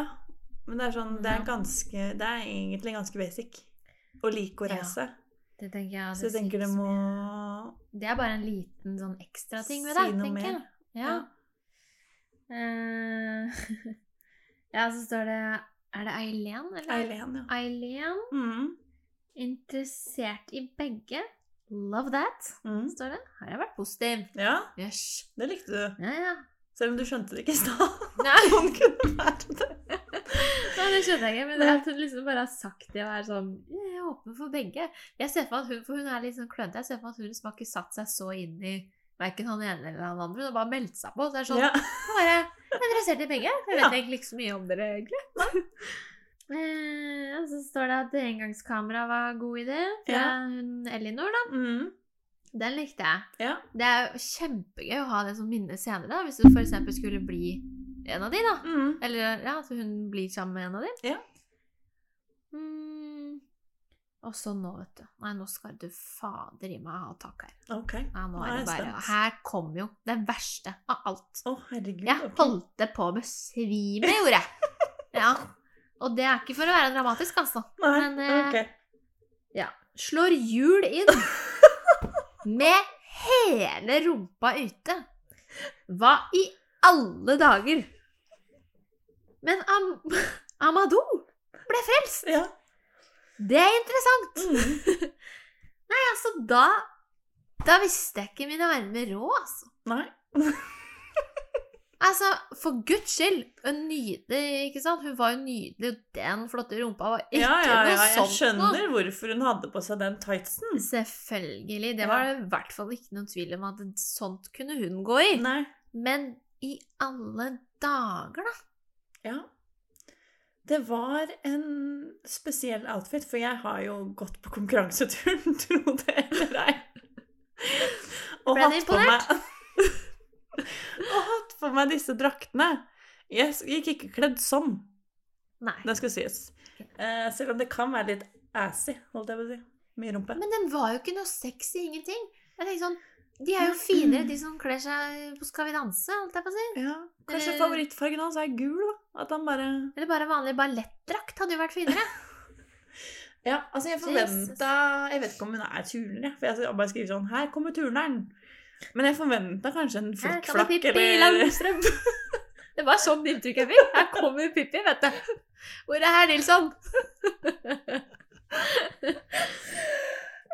Speaker 3: Men det er sånn Det
Speaker 2: Ja.
Speaker 3: er ganske Det er egentlig ganske basic å like å
Speaker 2: Ja,
Speaker 3: reise.
Speaker 2: det tenker jeg at
Speaker 3: så jeg tenker det
Speaker 2: sier
Speaker 3: må
Speaker 2: ikke så- Det er bare en liten sånn ekstra ting ved det,
Speaker 3: Si noe
Speaker 2: tenker jeg.
Speaker 3: mer.
Speaker 2: Ja. Eh, ja, så står det Er det Eileen, eller?
Speaker 3: Eileen, ja.
Speaker 2: Eileen.
Speaker 3: Mm.
Speaker 2: Interessert i begge. Love that,
Speaker 3: Mm.
Speaker 2: står det. Her har jeg vært positiv.
Speaker 3: Ja,
Speaker 2: Yes.
Speaker 3: det likte du.
Speaker 2: Ja, ja.
Speaker 3: Selv om du skjønte det ikke i stad.
Speaker 2: Nei.
Speaker 3: Sånn kunne det være det.
Speaker 2: Nei, det skjønner jeg ikke, men at hun liksom bare har sagt det og er sånn Jeg er åpen for begge. Jeg ser for meg at hun, for hun er litt sånn klønete, jeg ser for meg at hun liksom har ikke satt seg så inn i verken han ene eller han andre. Hun har bare meldt seg på. Så er det sånn
Speaker 3: Ja.
Speaker 2: jeg bare Jeg er interessert i begge. Jeg vet
Speaker 3: Ja.
Speaker 2: egentlig ikke så mye om dere, egentlig. Eh, og så står det at engangskamera var en god idé fra
Speaker 3: Ja.
Speaker 2: hun Elinor, da.
Speaker 3: Mm.
Speaker 2: Den likte jeg.
Speaker 3: Ja.
Speaker 2: Det er jo kjempegøy å ha det som minne senere, da, hvis du for eksempel skulle bli en av de, da.
Speaker 3: Mm.
Speaker 2: Eller ja, at hun blir sammen med en av dem.
Speaker 3: Ja.
Speaker 2: Mm. Og så nå, vet du. Nei, nå skal du fader i meg ha tak her.
Speaker 3: Ok. Å,
Speaker 2: Nei, nå
Speaker 3: Nå
Speaker 2: er
Speaker 3: er
Speaker 2: det
Speaker 3: jeg
Speaker 2: bare
Speaker 3: spent.
Speaker 2: Her kom jo det verste av alt.
Speaker 3: herregud.
Speaker 2: Jeg
Speaker 3: ok.
Speaker 2: holdt det på å besvime, gjorde jeg. Ja. Og det er ikke for å være dramatisk, altså.
Speaker 3: Nei,
Speaker 2: men, eh,
Speaker 3: ok.
Speaker 2: Slår hjul inn med hele rumpa ute. Hva i alle dager? Men Am Amadou ble frelst!
Speaker 3: Ja.
Speaker 2: Det er interessant!
Speaker 3: Mm.
Speaker 2: Nei, altså, da Da visste jeg ikke mine arme råd, altså.
Speaker 3: Nei.
Speaker 2: Altså, for guds skyld! En nydelig, ikke sant? Hun var jo nydelig, og den flotte rumpa var ikke
Speaker 3: Ja, ja, ja,
Speaker 2: noe
Speaker 3: jeg
Speaker 2: sånt noe.
Speaker 3: skjønner hvorfor hun hadde på seg den tightsen.
Speaker 2: Selvfølgelig. Det var det i hvert fall ikke noen tvil om at sånt kunne hun gå i.
Speaker 3: Nei.
Speaker 2: Men i alle dager, da!
Speaker 3: Ja. Det var en spesiell outfit, for jeg har jo gått på konkurranseturen, tro det eller ei. Og
Speaker 2: Ble du
Speaker 3: hatt på meg Og hatt på meg disse draktene. Jeg s- gikk ikke kledd sånn,
Speaker 2: Nei.
Speaker 3: det skal sies. Eh, selv om det kan være litt assy, holdt jeg på å si. Mye rumpe.
Speaker 2: Men den var jo ikke noe sexy, ingenting. Jeg tenker sånn, De er jo finere, de som kler seg på Skal vi danse, holdt jeg på å si.
Speaker 3: Ja, kanskje
Speaker 2: Eller-
Speaker 3: favorittfargen hans er gul, da. At han bare
Speaker 2: Eller bare vanlig ballettdrakt hadde jo vært finere.
Speaker 3: Ja, altså jeg
Speaker 2: Jesus.
Speaker 3: forventa Jeg vet ikke om hun er turner, jeg, for jeg har bare skrevet sånn Her kommer turneren. Men jeg forventa kanskje en
Speaker 2: Her
Speaker 3: flott
Speaker 2: kommer
Speaker 3: flakk
Speaker 2: Pippi
Speaker 3: eller
Speaker 2: Langstrøm. Det var sånn inntrykk jeg fikk. Her kommer Pippi, vet du. Hvor er herr Nilsson?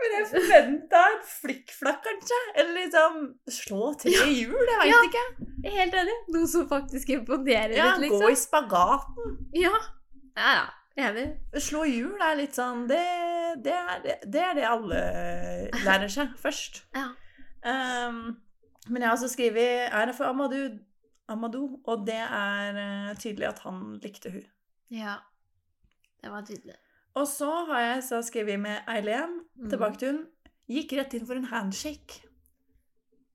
Speaker 3: Men jeg forventa en flikkflakk, kanskje. Eller liksom slå til i hjul, jeg veit
Speaker 2: Ja.
Speaker 3: ikke.
Speaker 2: Jeg er Helt enig. Noe som faktisk imponerer
Speaker 3: Ja,
Speaker 2: litt,
Speaker 3: Gå
Speaker 2: liksom.
Speaker 3: i spagaten.
Speaker 2: Ja, ja. ja. Enig.
Speaker 3: Slå i hjul er litt sånn det, det, er, det er det alle lærer seg først.
Speaker 2: Ja.
Speaker 3: Ehm, men jeg har også skrevet Er det for Amadou? Amadou, og det er eh, tydelig at han likte hun.
Speaker 2: Ja. Det var tydelig.
Speaker 3: Og så har jeg så skrevet med Eileen,
Speaker 2: Mm.
Speaker 3: tilbake til hun, gikk rett inn for en handshake.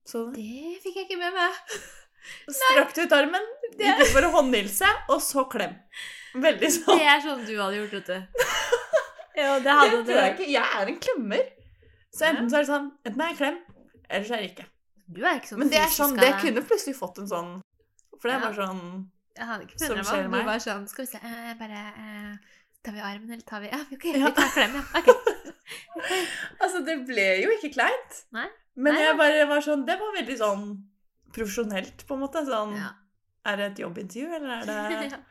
Speaker 3: Så
Speaker 2: Det fikk jeg ikke med meg.
Speaker 3: strakte ut armen, gikk inn for en håndhilse, og så klem. Veldig sånn.
Speaker 2: Det er sånn du hadde gjort, vet du. Ja, det hadde
Speaker 3: Det
Speaker 2: du.
Speaker 3: tror jeg ikke. Jeg er en klemmer. Så enten så er det sånn, enten er jeg klem, eller så er jeg ikke.
Speaker 2: Du er ikke sånn
Speaker 3: Men det er
Speaker 2: fysisk
Speaker 3: sånn,
Speaker 2: av
Speaker 3: det
Speaker 2: deg.
Speaker 3: kunne plutselig fått en sånn, for det
Speaker 2: Ja.
Speaker 3: var sånn,
Speaker 2: Jeg hadde ikke
Speaker 3: som
Speaker 2: forundret
Speaker 3: skjer
Speaker 2: meg. om
Speaker 3: meg.
Speaker 2: Du var sånn Skal vi se eh, Bare eh, Tar vi armen, eller tar vi Ja, ok,
Speaker 3: Ja.
Speaker 2: vi tar klem, ja. Ok.
Speaker 3: altså det ble jo ikke kleint.
Speaker 2: Nei.
Speaker 3: Men
Speaker 2: Nei,
Speaker 3: jeg bare var sånn, det var veldig sånn profesjonelt på en måte, sånn,
Speaker 2: Ja.
Speaker 3: er det et jobbintervju, eller er det...
Speaker 2: Ja.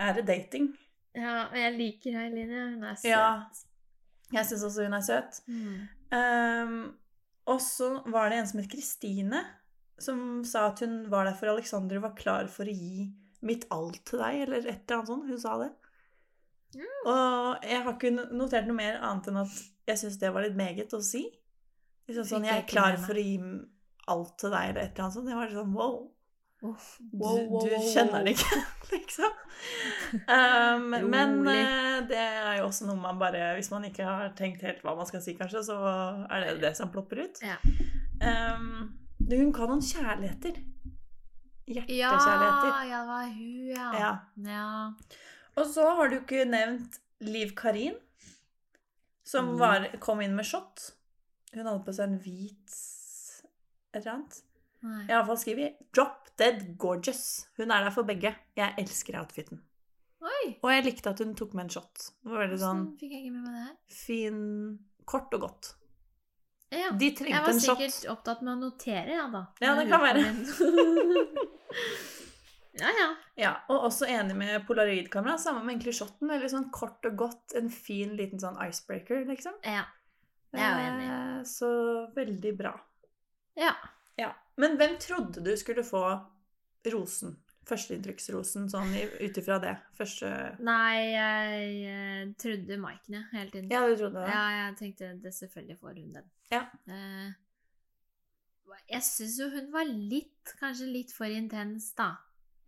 Speaker 3: Er det dating?
Speaker 2: ja, og jeg liker Eileen. ja. Hun er søt.
Speaker 3: Ja. Jeg syns også hun er søt.
Speaker 2: Mm.
Speaker 3: Ehm, og så var det en som het Kristine, som sa at hun var der for Alexander og var klar for å gi mitt alt til deg, eller et eller annet sånt. Hun sa det. Mm. Og jeg har ikke notert noe mer annet enn at jeg syns det var litt meget å si. Liksom sånn,
Speaker 2: Fikk
Speaker 3: jeg
Speaker 2: jeg
Speaker 3: er
Speaker 2: ikke
Speaker 3: klar
Speaker 2: med meg.
Speaker 3: for å gi alt til deg, eller et eller annet sånt. Jeg var sånn wow.
Speaker 2: Uff.
Speaker 3: Du, du kjenner det ikke, liksom. Um, men
Speaker 2: Rolig.
Speaker 3: eh, det er jo også noe man bare Hvis man ikke har tenkt helt hva man skal si, kanskje, så er det det som plopper ut.
Speaker 2: Ja.
Speaker 3: Um, du, hun kan noen kjærligheter.
Speaker 2: Ja,
Speaker 3: Hjertekjærligheter.
Speaker 2: ja, det var hun, ja.
Speaker 3: Ja.
Speaker 2: ja.
Speaker 3: Og så har du ikke nevnt Liv Karin, som
Speaker 2: Mm.
Speaker 3: var, kom inn med shot. Hun hadde på seg en hvit et eller annet.
Speaker 2: Nei.
Speaker 3: Jeg har i hvert fall skrevet 'Drop Dead Gorgeous'. Hun er der for begge. Jeg elsker outfiten.
Speaker 2: Oi!
Speaker 3: Og jeg likte at hun tok med en shot. Det var veldig sånn
Speaker 2: Hvordan fikk jeg ikke med meg det her?
Speaker 3: fin Kort og godt.
Speaker 2: Ja.
Speaker 3: De
Speaker 2: Jeg
Speaker 3: trengte
Speaker 2: var
Speaker 3: en shot.
Speaker 2: sikkert opptatt med å notere, ja da.
Speaker 3: Ja, det
Speaker 2: Når
Speaker 3: kan
Speaker 2: hun kom inn. ja, ja.
Speaker 3: Ja, Og også enig med polaroidkamera. Samme med egentlig shoten. Veldig sånn kort og godt. En fin liten sånn icebreaker, liksom.
Speaker 2: Ja. Jeg er jo enig.
Speaker 3: Eh, Så veldig bra.
Speaker 2: Ja.
Speaker 3: Ja. Men hvem trodde du skulle få rosen førsteinntrykksrosen sånn ut ifra det? Første
Speaker 2: Nei, jeg eh, trodde Maiken, jeg, hele tiden.
Speaker 3: Ja, du trodde det?
Speaker 2: Ja, jeg tenkte det selvfølgelig får hun den.
Speaker 3: Ja.
Speaker 2: Eh, jeg syns jo hun var litt, kanskje litt for intens, da.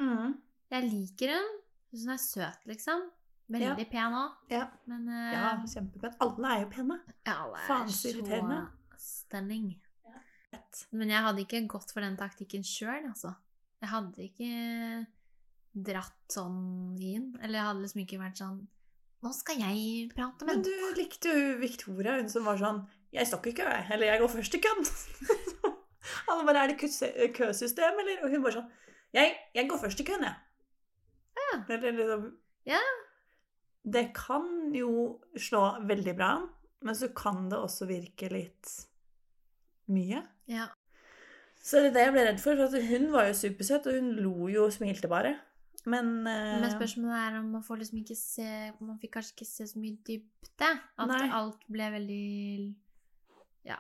Speaker 3: Mhm.
Speaker 2: Jeg liker hun. Syns hun er søt, liksom. Veldig pen òg.
Speaker 3: Ja.
Speaker 2: Men eh,
Speaker 3: ja kjempepen. Alle er jo pene.
Speaker 2: ja, alle er
Speaker 3: faen, så
Speaker 2: så
Speaker 3: irriterende.
Speaker 2: stunning. Men jeg hadde ikke gått for den taktikken sjøl, altså. Jeg hadde ikke dratt sånn inn. Eller jeg hadde liksom ikke vært sånn Nå skal jeg prate med
Speaker 3: Men du likte jo Victoria, hun som var sånn 'Jeg står ikke i kø, jeg. Eller 'Jeg går først i køen'. Alle bare 'Er det køse- køsystem', eller? Og hun bare sånn 'Jeg, jeg går først i køen, jeg'.
Speaker 2: Ja.
Speaker 3: Eller liksom
Speaker 2: Ja.
Speaker 3: Det kan jo slå veldig bra an, men så kan det også virke litt mye.
Speaker 2: Ja.
Speaker 3: Så det er det jeg ble redd for. for at Hun var jo supersøt, og hun lo jo og smilte bare. Men, eh,
Speaker 2: Men spørsmålet er om man får liksom ikke se Man fikk kanskje ikke se så mye dybde. At
Speaker 3: Nei.
Speaker 2: alt ble veldig Ja.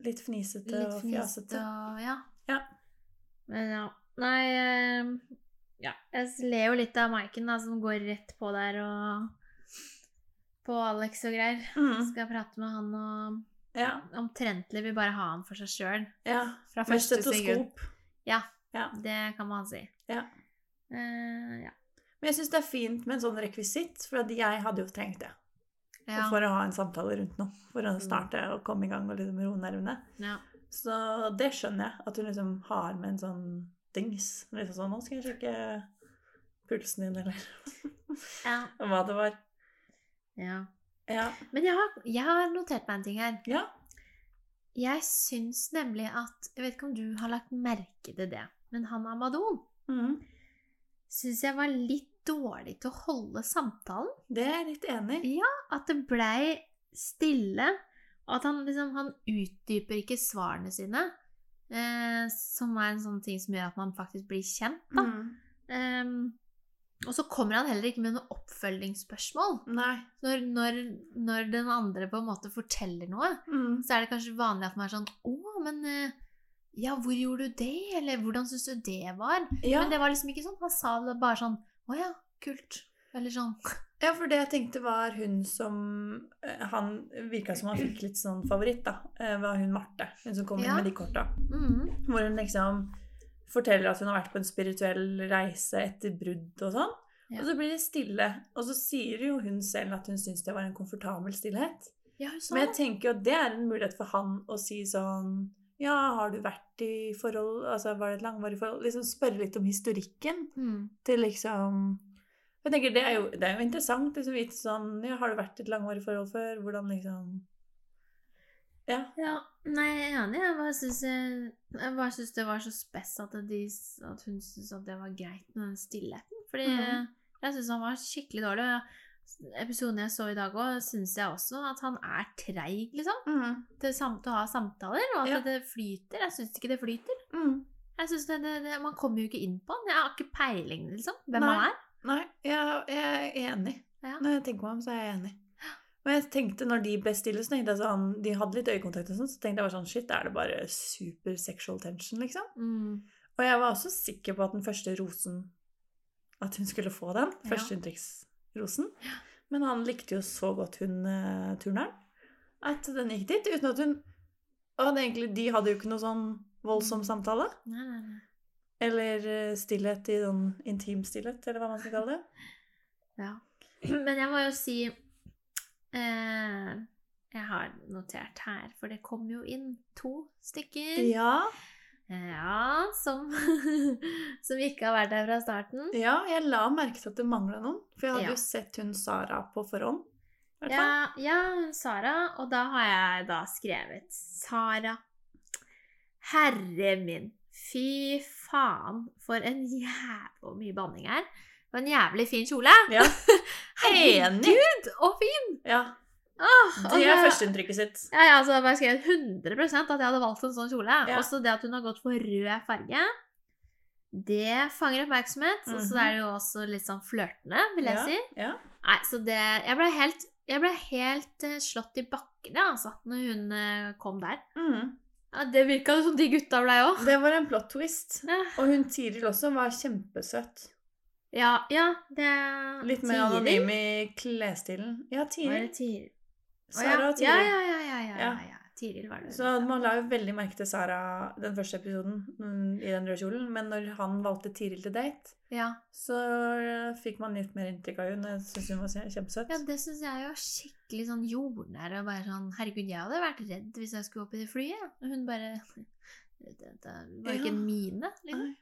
Speaker 3: litt fnisete
Speaker 2: Litt
Speaker 3: og
Speaker 2: fnisete
Speaker 3: fjasete.
Speaker 2: og ja.
Speaker 3: Ja.
Speaker 2: Men ja. Nei eh, ja. Jeg ler jo litt av Maiken, da, som går rett på der og På Alex og greier.
Speaker 3: Mm,
Speaker 2: Skal prate med han og
Speaker 3: ja,
Speaker 2: Omtrentlig vil bare ha han for seg sjøl.
Speaker 3: ja.
Speaker 2: Fra
Speaker 3: Med
Speaker 2: første sekund.
Speaker 3: stetoskop.
Speaker 2: Ja.
Speaker 3: Ja.
Speaker 2: Det kan man si.
Speaker 3: Ja.
Speaker 2: Eh, ja.
Speaker 3: Men jeg syns det er fint med en sånn rekvisitt, for at jeg hadde jo trengt det.
Speaker 2: Ja.
Speaker 3: For å ha en samtale rundt noe. For å
Speaker 2: Mm.
Speaker 3: starte og komme i gang og liksom roe nervene.
Speaker 2: ja.
Speaker 3: Så det skjønner jeg, at hun liksom har med en sånn dings. Liksom sånn 'Nå skal jeg sjekke pulsen din', eller
Speaker 2: ja.
Speaker 3: hva det var.
Speaker 2: ja.
Speaker 3: Ja.
Speaker 2: Men jeg har, jeg har notert meg en ting her.
Speaker 3: Ja.
Speaker 2: Jeg syns nemlig at Jeg vet ikke om du har lagt merke til det, men han Amadon
Speaker 3: Mm.
Speaker 2: syns jeg var litt dårlig til å holde samtalen.
Speaker 3: Det er jeg litt enig i.
Speaker 2: At det blei stille. Og at han liksom Han utdyper ikke svarene sine. Eh, som er en sånn ting som gjør at man faktisk blir kjent, da.
Speaker 3: Mm.
Speaker 2: Eh, og så kommer han heller ikke med noe oppfølgingsspørsmål.
Speaker 3: Nei.
Speaker 2: Når, når, når den andre på en måte forteller noe,
Speaker 3: Mm.
Speaker 2: så er det kanskje vanlig at man er sånn Å, men eh, ja, hvor gjorde du det? Eller hvordan syns du det var?
Speaker 3: Ja.
Speaker 2: Men det var liksom ikke sånn. Han sa det bare sånn Å ja, kult. Eller sånn.
Speaker 3: Ja, for det jeg tenkte var hun som eh, Han virka som han fikk litt sånn favoritt, da. eh, Var hun Marte. Hun som kom inn
Speaker 2: Ja.
Speaker 3: med de korta.
Speaker 2: Mm,
Speaker 3: Hvor hun liksom forteller at hun har vært på en spirituell reise etter brudd og sånn.
Speaker 2: Ja.
Speaker 3: Og så blir det stille. Og så sier jo hun selv at hun syns det var en komfortabel stillhet.
Speaker 2: ja, hun sa
Speaker 3: Men jeg
Speaker 2: det.
Speaker 3: tenker jo at det er en mulighet for han å si sånn Ja, har du vært i forhold Altså, var det et langvarig forhold? Liksom spørre litt om historikken
Speaker 2: Mm,
Speaker 3: til liksom jeg tenker, det er jo, det er jo interessant liksom, vite sånn, ja, Har du vært i et langvarig forhold før? Hvordan liksom Ja.
Speaker 2: ja. Nei, jeg er enig. Jeg bare syns jeg- jeg bare syns det var så spess at, de, at hun syntes at det var greit med den stillheten. Fordi
Speaker 3: Mhm.
Speaker 2: eh, jeg syns han var skikkelig dårlig. og Episoden jeg så i dag òg, syns jeg også at han er treig, liksom.
Speaker 3: Mm.
Speaker 2: til, sam til å ha samtaler, og at
Speaker 3: Ja.
Speaker 2: det flyter. Jeg syns ikke det flyter.
Speaker 3: Mm.
Speaker 2: Jeg synes det, det, det, Man kommer jo ikke inn på den. Jeg har ikke peiling, liksom, hvem
Speaker 3: Nei.
Speaker 2: han er.
Speaker 3: Nei, jeg, jeg er enig.
Speaker 2: Ja.
Speaker 3: Når jeg tenker meg om, så er jeg enig. Men jeg tenkte når de ble stille, så tenkte jeg sånn, de hadde litt øyekontakt, og sånn, så tenkte jeg bare sånn Shit, er det bare super sexual tension, liksom?
Speaker 2: Mm.
Speaker 3: Og jeg var også sikker på at den første rosen At hun skulle få den.
Speaker 2: Ja.
Speaker 3: Førsteinntrykksrosen. Men han likte jo så godt hun eh, turneren at den gikk dit. Uten at hun Og det egentlig, de hadde jo ikke noe sånn
Speaker 2: Mm.
Speaker 3: voldsom samtale.
Speaker 2: Nei, nei, nei.
Speaker 3: Eller eh, stillhet i sånn intim stillhet, eller hva man skal kalle det.
Speaker 2: Ja. Men jeg må jo si eh, Jeg har notert her, for det kom jo inn to stykker.
Speaker 3: Ja,
Speaker 2: Ja, som, som ikke har vært der fra starten.
Speaker 3: ja jeg la merke til at det mangla noen. For jeg hadde
Speaker 2: Ja.
Speaker 3: jo sett hun Sara på forhånd. i hvert fall.
Speaker 2: Ja, ja, hun Sara. Og da har jeg da skrevet Sara. Herre min. Fy faen, for en jævla mye banning her. Og en jævlig fin kjole.
Speaker 3: Ja. Enig!
Speaker 2: Herregud, og fin!
Speaker 3: Ja,
Speaker 2: Åh, og
Speaker 3: Det er
Speaker 2: så-
Speaker 3: førsteinntrykket sitt.
Speaker 2: Ja, ja, altså, jeg bare skrevet 100 at jeg hadde valgt en sånn kjole.
Speaker 3: Ja.
Speaker 2: Også det at hun har gått for rød farge. Det fanger oppmerksomhet. Og
Speaker 3: Mhm.
Speaker 2: så er det jo også litt sånn flørtende, vil jeg
Speaker 3: Ja,
Speaker 2: si.
Speaker 3: ja.
Speaker 2: Nei, så det Jeg ble helt, jeg ble helt eh, slått i bakken, jeg, altså, når hun eh, kom der.
Speaker 3: Mm.
Speaker 2: Ja, det virka jo som de gutta blei òg.
Speaker 3: Det var en plot twist.
Speaker 2: Ja.
Speaker 3: Og hun Tiril også var kjempesøt.
Speaker 2: Ja, ja, det
Speaker 3: Litt mer
Speaker 2: Tiril?
Speaker 3: anonym i klesstilen. Ja,
Speaker 2: Var det
Speaker 3: Tiril.
Speaker 2: Tiril? Å,
Speaker 3: Sara og
Speaker 2: ja.
Speaker 3: Tiril.
Speaker 2: Ja, ja, ja, ja, ja,
Speaker 3: Ja.
Speaker 2: ja, ja. Tiril var det.
Speaker 3: Så man la jo veldig merke til Sara den første episoden mm, i den røde kjolen, men når han valgte Tiril til date,
Speaker 2: ja.
Speaker 3: så eh, fikk man litt mer inntrykk av henne. Jeg syns hun var se- kjempesøt.
Speaker 2: ja, det syns jeg jo er skikkelig sånn jordnær og bare sånn Herregud, jeg hadde vært redd hvis jeg skulle opp i det flyet. jeg. Og hun bare Det, det var ikke
Speaker 3: Ja.
Speaker 2: en mine, liksom.
Speaker 3: Nei.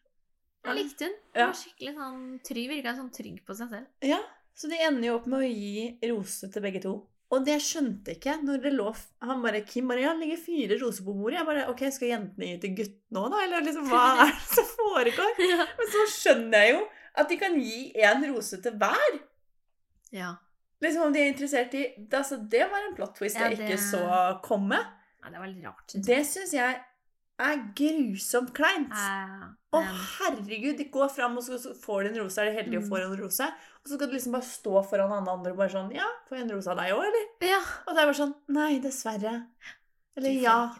Speaker 2: Jeg likte hun. Hun
Speaker 3: Ja.
Speaker 2: var skikkelig sånn trygg, virka sånn trygg på seg selv.
Speaker 3: Ja, så de ender jo opp med å gi rose til begge to. Og det skjønte ikke jeg når det lå f- Han bare Kim bare, ja, det ligger fire roser på bordet. Jeg bare OK, skal jentene gi til guttene òg, da? Eller liksom, hva er det som foregår?
Speaker 2: Ja.
Speaker 3: Men så skjønner jeg jo at de kan gi én rose til hver.
Speaker 2: ja.
Speaker 3: Liksom om de er interessert i det, altså, det var en plot twist
Speaker 2: Ja,
Speaker 3: jeg
Speaker 2: det-
Speaker 3: ikke så komme.
Speaker 2: Nei, det var litt rart. synes jeg.
Speaker 3: Det syns jeg er grusomt kleint.
Speaker 2: Eh,
Speaker 3: Å,
Speaker 2: men-
Speaker 3: herregud! De går fram, og så så får de en rose. Er de heldige og
Speaker 2: Mm.
Speaker 3: får en rose? Og så skal du liksom bare stå foran alle andre og bare sånn Ja, får jeg en rose av deg òg, eller?
Speaker 2: ja.
Speaker 3: Og det er bare sånn Nei, dessverre. Eller
Speaker 2: Du får
Speaker 3: ja.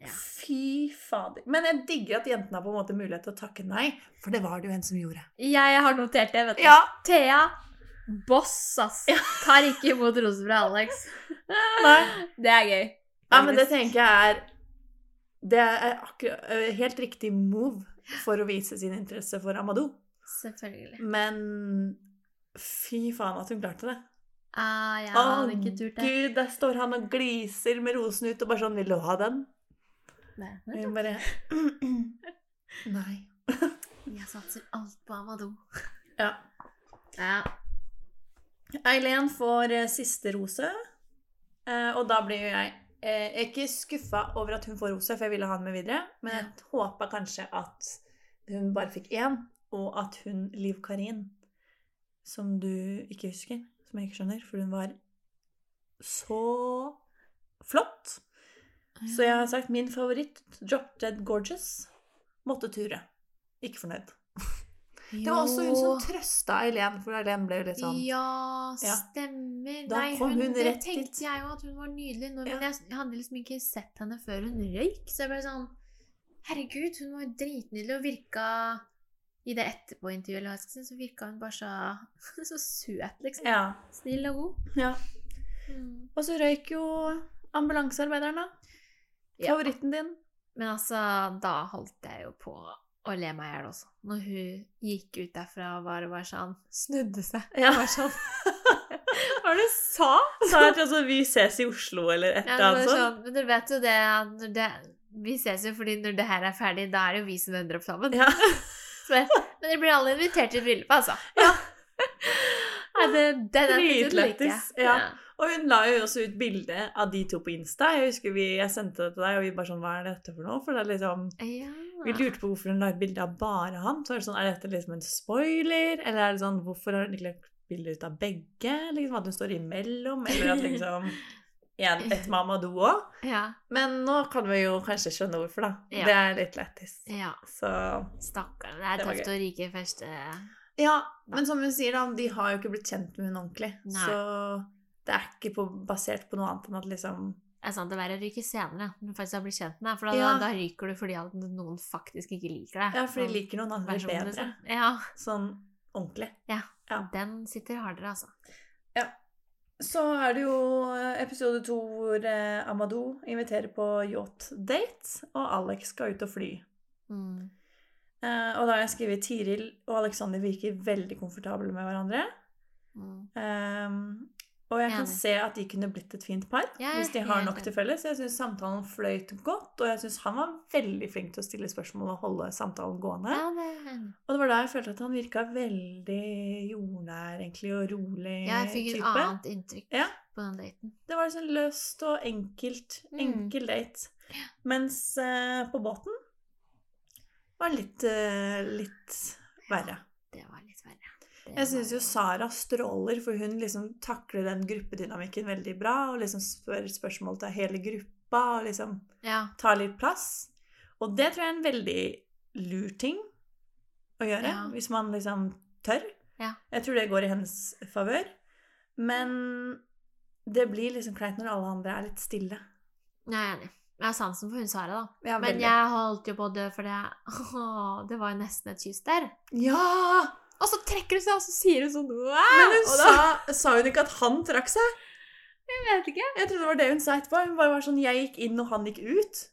Speaker 2: Ja.
Speaker 3: Fy fader. Men jeg digger at jentene har på en måte mulighet til å takke nei, for det var det jo en som gjorde.
Speaker 2: Jeg har notert det, vet du.
Speaker 3: Ja,
Speaker 2: Thea, boss, ass.
Speaker 3: Ja.
Speaker 2: Tar ikke imot roser fra Alex.
Speaker 3: nei.
Speaker 2: Det er gøy.
Speaker 3: Ja, men det tenker jeg er Det er akkurat, helt riktig move for å vise sin interesse for Amadou.
Speaker 2: Selvfølgelig.
Speaker 3: Men fy faen at hun klarte det.
Speaker 2: Ah, jeg
Speaker 3: Å,
Speaker 2: hadde ikke turt det.
Speaker 3: Gud, der står han og gliser med rosen ut og bare sånn 'Vil du ha den?' Og
Speaker 2: Nei.
Speaker 3: hun bare Nei.
Speaker 2: Jeg satser alt på Amadou.
Speaker 3: Ja.
Speaker 2: Ja.
Speaker 3: Eileen får eh, siste rose, eh, og da blir jo jeg eh, ikke skuffa over at hun får rose, for jeg ville ha den med videre, men jeg håpa kanskje at hun bare fikk én, og at hun Liv Karin, som du ikke husker, som jeg ikke skjønner, for hun var så flott. Så jeg har sagt min favoritt, Drop Dead Gorgeous, måtte ture. Ikke fornøyd. Det var også hun som trøsta Eileen, for Eileen ble jo litt sånn
Speaker 2: Ja,
Speaker 3: Ja.
Speaker 2: stemmer.
Speaker 3: Da
Speaker 2: Nei,
Speaker 3: kom
Speaker 2: hun,
Speaker 3: hun
Speaker 2: det
Speaker 3: rett
Speaker 2: tenkte
Speaker 3: dit.
Speaker 2: jeg jo at hun var nydelig. Nå,
Speaker 3: Ja.
Speaker 2: Men jeg, jeg hadde liksom ikke sett henne før hun røyk. Så jeg ble sånn Herregud, hun var dritnydelig og virka I det etterpå-intervjuet eller hva jeg skal si, så virka hun bare så, så søt, liksom.
Speaker 3: Ja.
Speaker 2: Snill og god.
Speaker 3: ja.
Speaker 2: Mm.
Speaker 3: Og så røyk jo ambulansearbeideren, da.
Speaker 2: Ja.
Speaker 3: Favoritten din.
Speaker 2: Men altså, da holdt jeg jo på å le meg i hjel også. Når hun gikk ut derfra og bare var sånn Snudde seg.
Speaker 3: Ja.
Speaker 2: Var sånn Hva var det du sa?
Speaker 3: Sa at altså, vi ses i Oslo eller et eller
Speaker 2: Ja, det
Speaker 3: annet
Speaker 2: var
Speaker 3: sånt.
Speaker 2: sånn, men dere vet jo det, at når det Vi ses jo fordi når det her er ferdig, da er det jo vi som ender opp sammen.
Speaker 3: Ja.
Speaker 2: Så, men dere blir alle invitert til bryllupet, altså.
Speaker 3: Ja.
Speaker 2: Nei, det, den episoden liker jeg.
Speaker 3: Dritlættis. Ja. Og hun la jo også ut bilde av de to på Insta. Jeg husker vi, jeg sendte det til deg, og vi bare sånn Hva er dette for noe? For det er liksom
Speaker 2: Ja.
Speaker 3: Vi lurte på hvorfor hun la ut bilde av bare han. Så er det sånn Er dette liksom en spoiler? Eller er det sånn Hvorfor har hun ikke lagt bilde ut av begge? Liksom At hun står imellom? Eller at liksom en, Et Mamadou òg?
Speaker 2: Ja.
Speaker 3: Men nå kan vi jo kanskje skjønne hvorfor, da.
Speaker 2: Ja.
Speaker 3: Det er litt lættis.
Speaker 2: ja.
Speaker 3: Så
Speaker 2: Stakkar. Det er
Speaker 3: Det var
Speaker 2: tøft å ryke først. eh.
Speaker 3: Ja,
Speaker 2: Da.
Speaker 3: men som hun sier, da, de har jo ikke blitt kjent med hun ordentlig.
Speaker 2: Nei.
Speaker 3: Så det er ikke på, basert på noe annet enn at liksom
Speaker 2: Det er sant, det er verre å ryke senere når du faktisk har blitt kjent med deg. For da,
Speaker 3: Ja.
Speaker 2: da ryker du fordi at noen faktisk ikke liker deg.
Speaker 3: Ja, for de
Speaker 2: Sånn
Speaker 3: liker noen andre
Speaker 2: versjon,
Speaker 3: bedre.
Speaker 2: liksom. Ja.
Speaker 3: Sånn ordentlig. Ja.
Speaker 2: Den sitter hardere, altså.
Speaker 3: Så er det jo eh, episode to hvor eh, Amadou inviterer på yacht-date, og Alex skal ut og fly.
Speaker 2: Mm.
Speaker 3: Eh, og da har jeg skrevet Tiril og Alexander virker veldig komfortable med hverandre.
Speaker 2: Mm.
Speaker 3: Ehm, og jeg kan
Speaker 2: Enig.
Speaker 3: se at de kunne blitt et fint par
Speaker 2: Jeg er
Speaker 3: hvis de har
Speaker 2: helt
Speaker 3: nok til
Speaker 2: enig.
Speaker 3: felles. Jeg syns samtalen fløyt godt, og jeg syns han var veldig flink til å stille spørsmål og holde samtalen gående.
Speaker 2: Ja, det er jeg enig i.
Speaker 3: Og det var da jeg følte at han virka veldig jordnær egentlig, og rolig
Speaker 2: Ja, jeg fikk et
Speaker 3: type.
Speaker 2: annet inntrykk
Speaker 3: Ja.
Speaker 2: på den daten.
Speaker 3: Det var liksom løst og enkelt.
Speaker 2: Mm.
Speaker 3: Enkel date. Mens eh, på båten var det litt, eh, litt verre.
Speaker 2: Det var litt verre. Det
Speaker 3: Jeg syns
Speaker 2: var-
Speaker 3: jo Sara stråler, for hun liksom takler den gruppedynamikken veldig bra. Og liksom spør spørsmål til hele gruppa, og liksom
Speaker 2: Ja.
Speaker 3: tar litt plass. Og det tror jeg er en veldig lur ting å gjøre,
Speaker 2: Ja.
Speaker 3: hvis man liksom tør.
Speaker 2: Ja.
Speaker 3: Jeg tror det går i hennes favør. Men det blir liksom kleint når alle andre er litt stille.
Speaker 2: Jeg er enig. Jeg har sansen for hun Sara, da.
Speaker 3: Ja,
Speaker 2: Men
Speaker 3: veldig.
Speaker 2: jeg holdt jo på å dø, for det Åh, Det var jo nesten et kyss der.
Speaker 3: Ja!
Speaker 2: Og så trekker hun seg, og så sier hun sånn «Wow!»
Speaker 3: Men hun
Speaker 2: Og
Speaker 3: sa,
Speaker 2: da
Speaker 3: sa hun ikke at han trakk seg?
Speaker 2: Jeg vet ikke.
Speaker 3: Jeg trodde det var det hun sa etterpå. Hun bare var sånn 'jeg gikk inn, og han gikk ut'.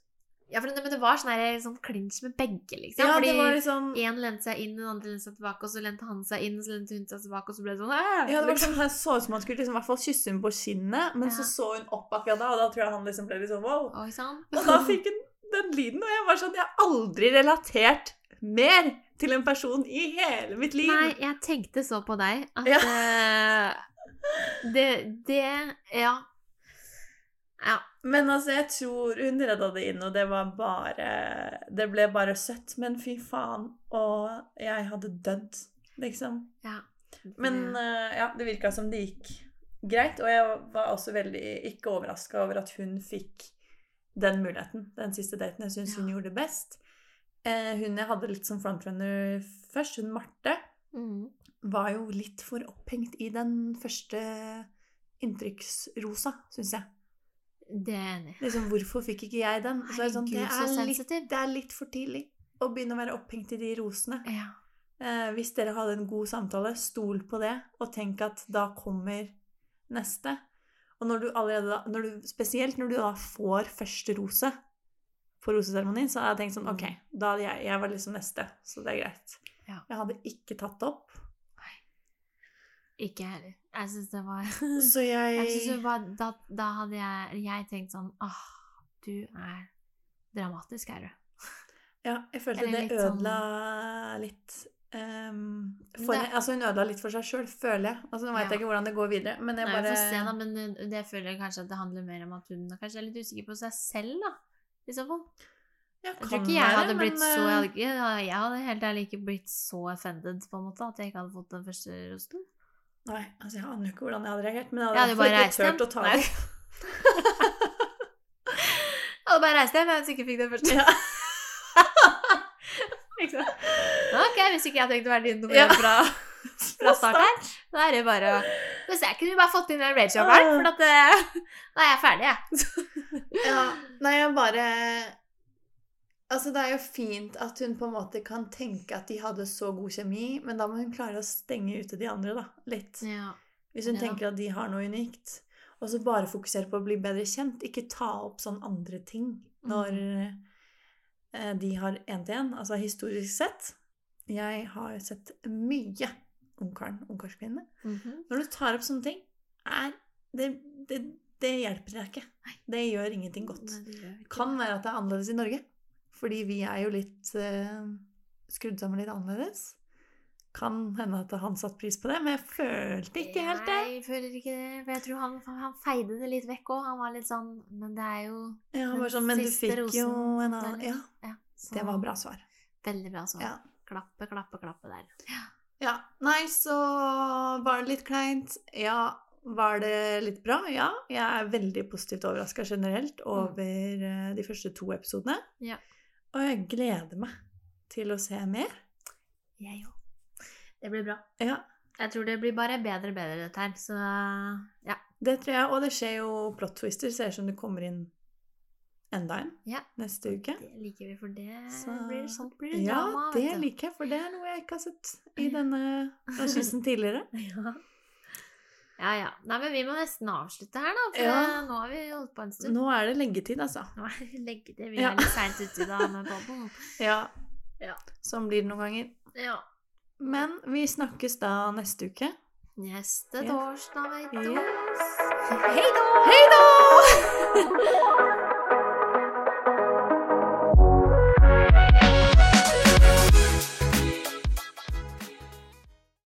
Speaker 2: Ja, for det, men det var sånn her, sånn klinsj med begge, liksom.
Speaker 3: Ja,
Speaker 2: fordi
Speaker 3: det var liksom
Speaker 2: én lente seg inn, den andre lente seg tilbake, og så lente han seg inn, og så lente hun seg tilbake, og så ble det sånn «Æ!»
Speaker 3: Ja, det var
Speaker 2: liksom.
Speaker 3: sånn, Han så ut som han skulle liksom, i hvert fall kysse henne på kinnet, men
Speaker 2: Ja.
Speaker 3: så så hun opp akkurat da, og da tror jeg han liksom ble litt sånn wow.
Speaker 2: Oi sann.
Speaker 3: Og da fikk hun den lyden, og jeg var sånn Jeg har aldri relatert mer til en person i hele mitt liv.
Speaker 2: Nei, jeg tenkte så på deg at
Speaker 3: Ja.
Speaker 2: eh, det, det Ja. Ja.
Speaker 3: Men altså, jeg tror hun redda det inn, og det var bare Det ble bare søtt, men fy faen. Og jeg hadde dødd, liksom.
Speaker 2: ja.
Speaker 3: Men eh, ja, det virka som det gikk greit, og jeg var også veldig ikke overraska over at hun fikk den muligheten, den siste daten. Jeg syns hun
Speaker 2: Ja.
Speaker 3: gjorde det best. Eh, hun jeg hadde litt som frontrunner først, hun Marte,
Speaker 2: mm.
Speaker 3: var jo litt for opphengt i den første inntrykksrosa, syns jeg.
Speaker 2: Det er jeg enig. i.
Speaker 3: Liksom, hvorfor fikk ikke jeg den? Og så er det, sånn,
Speaker 2: Herregud,
Speaker 3: det,
Speaker 2: så
Speaker 3: er litt,
Speaker 2: sensitiv.
Speaker 3: det er litt for tidlig å begynne å være opphengt i de rosene.
Speaker 2: Ja.
Speaker 3: Eh, hvis dere hadde en god samtale, stol på det, og tenk at da kommer neste. Og når du allerede da, når du, spesielt når du da får første rose på roseseremonien, så hadde jeg tenkt sånn
Speaker 2: Mm.
Speaker 3: Ok, da hadde jeg, jeg var liksom neste, så det er greit.
Speaker 2: Ja.
Speaker 3: Jeg hadde ikke tatt opp.
Speaker 2: Ikke jeg heller. Jeg syns det var
Speaker 3: Så jeg,
Speaker 2: Mm. Jeg synes det var da, da hadde jeg, jeg tenkt sånn Åh, du er dramatisk, er du.
Speaker 3: Ja, jeg følte
Speaker 2: Eller
Speaker 3: det
Speaker 2: litt sånn-
Speaker 3: ødela litt ehm, for,
Speaker 2: Nei.
Speaker 3: Altså, hun ødela litt for seg sjøl, føler jeg. Altså, nå veit
Speaker 2: Ja.
Speaker 3: jeg ikke hvordan det går videre, men jeg
Speaker 2: Nei,
Speaker 3: bare
Speaker 2: vi får se, da, men eh, det føler jeg kanskje at det handler mer om at hun kanskje er litt usikker på seg selv, da. I så fall.
Speaker 3: Ja,
Speaker 2: Jeg tror
Speaker 3: kan
Speaker 2: ikke jeg
Speaker 3: være,
Speaker 2: hadde blitt
Speaker 3: men,
Speaker 2: så Jeg
Speaker 3: eh,
Speaker 2: hadde, ikke, jeg hadde helt ærlig ikke blitt så offended, på en måte, at jeg ikke hadde fått den første rosten.
Speaker 3: Nei, altså jeg aner jo ikke hvordan jeg hadde reagert, men jeg hadde
Speaker 2: Jeg hadde
Speaker 3: i
Speaker 2: jo
Speaker 3: hvert
Speaker 2: bare
Speaker 3: fall ikke
Speaker 2: reist hjem.
Speaker 3: turt å ta
Speaker 2: Nei.
Speaker 3: det.
Speaker 2: Jeg hadde bare reist hjem jeg, hvis jeg ikke fikk den første. Ikke sant? Ok, hvis ikke jeg tenkte å være din nummer
Speaker 3: Ja.
Speaker 2: én fra, fra start her, da er det bare å Hvis jeg kunne bare fått inn den rage her,
Speaker 3: Ah.
Speaker 2: for at eh, Da er jeg ferdig, jeg.
Speaker 3: Ja, nei, jeg bare Altså, det er jo fint at hun på en måte kan tenke at de hadde så god kjemi, men da må hun klare å stenge ute de andre, da. Litt.
Speaker 2: Ja.
Speaker 3: Hvis hun
Speaker 2: Ja.
Speaker 3: tenker at de har noe unikt. Og så bare fokusere på å bli bedre kjent. Ikke ta opp sånn andre ting når
Speaker 2: Mm.
Speaker 3: eh, de har én til én. Altså historisk sett. Jeg har sett mye ungkaren, ungkarskvinne.
Speaker 2: Mhm.
Speaker 3: Når du tar opp sånne ting, er det, det, det hjelper deg ikke. Det gjør ingenting godt.
Speaker 2: Nei, det gjør jeg ikke.
Speaker 3: Kan være at det er annerledes i Norge. Fordi vi er jo litt eh, skrudd sammen litt annerledes. Kan hende at han satte pris på det, men jeg følte ikke helt det.
Speaker 2: Nei, jeg føler ikke det. For jeg tror han, han feide det litt vekk òg. Han var litt sånn Men det er jo
Speaker 3: Ja, han
Speaker 2: Den
Speaker 3: var sånn, men du
Speaker 2: siste
Speaker 3: fikk jo
Speaker 2: rosen,
Speaker 3: en annen
Speaker 2: eller?
Speaker 3: Ja,
Speaker 2: ja, så-
Speaker 3: det var bra svar.
Speaker 2: sånn Veldig bra svar.
Speaker 3: Ja.
Speaker 2: Klappe, klappe, klappe der.
Speaker 3: Ja. Nei, så var det litt kleint. Ja. Var det litt bra? Ja. Jeg er veldig positivt overraska generelt over eh, de første to episodene.
Speaker 2: Mm. Ja.
Speaker 3: Og jeg gleder meg til å se mer.
Speaker 2: Jeg òg. Det blir bra.
Speaker 3: Ja.
Speaker 2: Jeg tror det blir bare bedre og bedre, dette her. Så ja.
Speaker 3: Det tror jeg. Og det skjer jo plot twister. Ser ut som det kommer inn enda en
Speaker 2: Ja.
Speaker 3: neste uke.
Speaker 2: Det liker vi, for det
Speaker 3: Så-
Speaker 2: blir sånt blir det
Speaker 3: Ja,
Speaker 2: drama.
Speaker 3: det
Speaker 2: vet du. Mm.
Speaker 3: liker jeg, for det er noe jeg ikke har sett i denne franchisen tidligere.
Speaker 2: Ja. ja ja. Nei, men vi må nesten avslutte her, da. For
Speaker 3: Ja.
Speaker 2: nå har vi holdt på en stund.
Speaker 3: Nå er det leggetid, altså.
Speaker 2: Nå er det leggetid. Vi
Speaker 3: Ja.
Speaker 2: er litt seint ute i dag med podden.
Speaker 3: Ja.
Speaker 2: Ja.
Speaker 3: Sånn blir det noen ganger.
Speaker 2: Ja.
Speaker 3: Men vi snakkes da neste uke.
Speaker 2: Neste
Speaker 3: Ja.
Speaker 2: torsdag, vet du.
Speaker 3: Yes.
Speaker 2: Hei da!
Speaker 3: Hei da!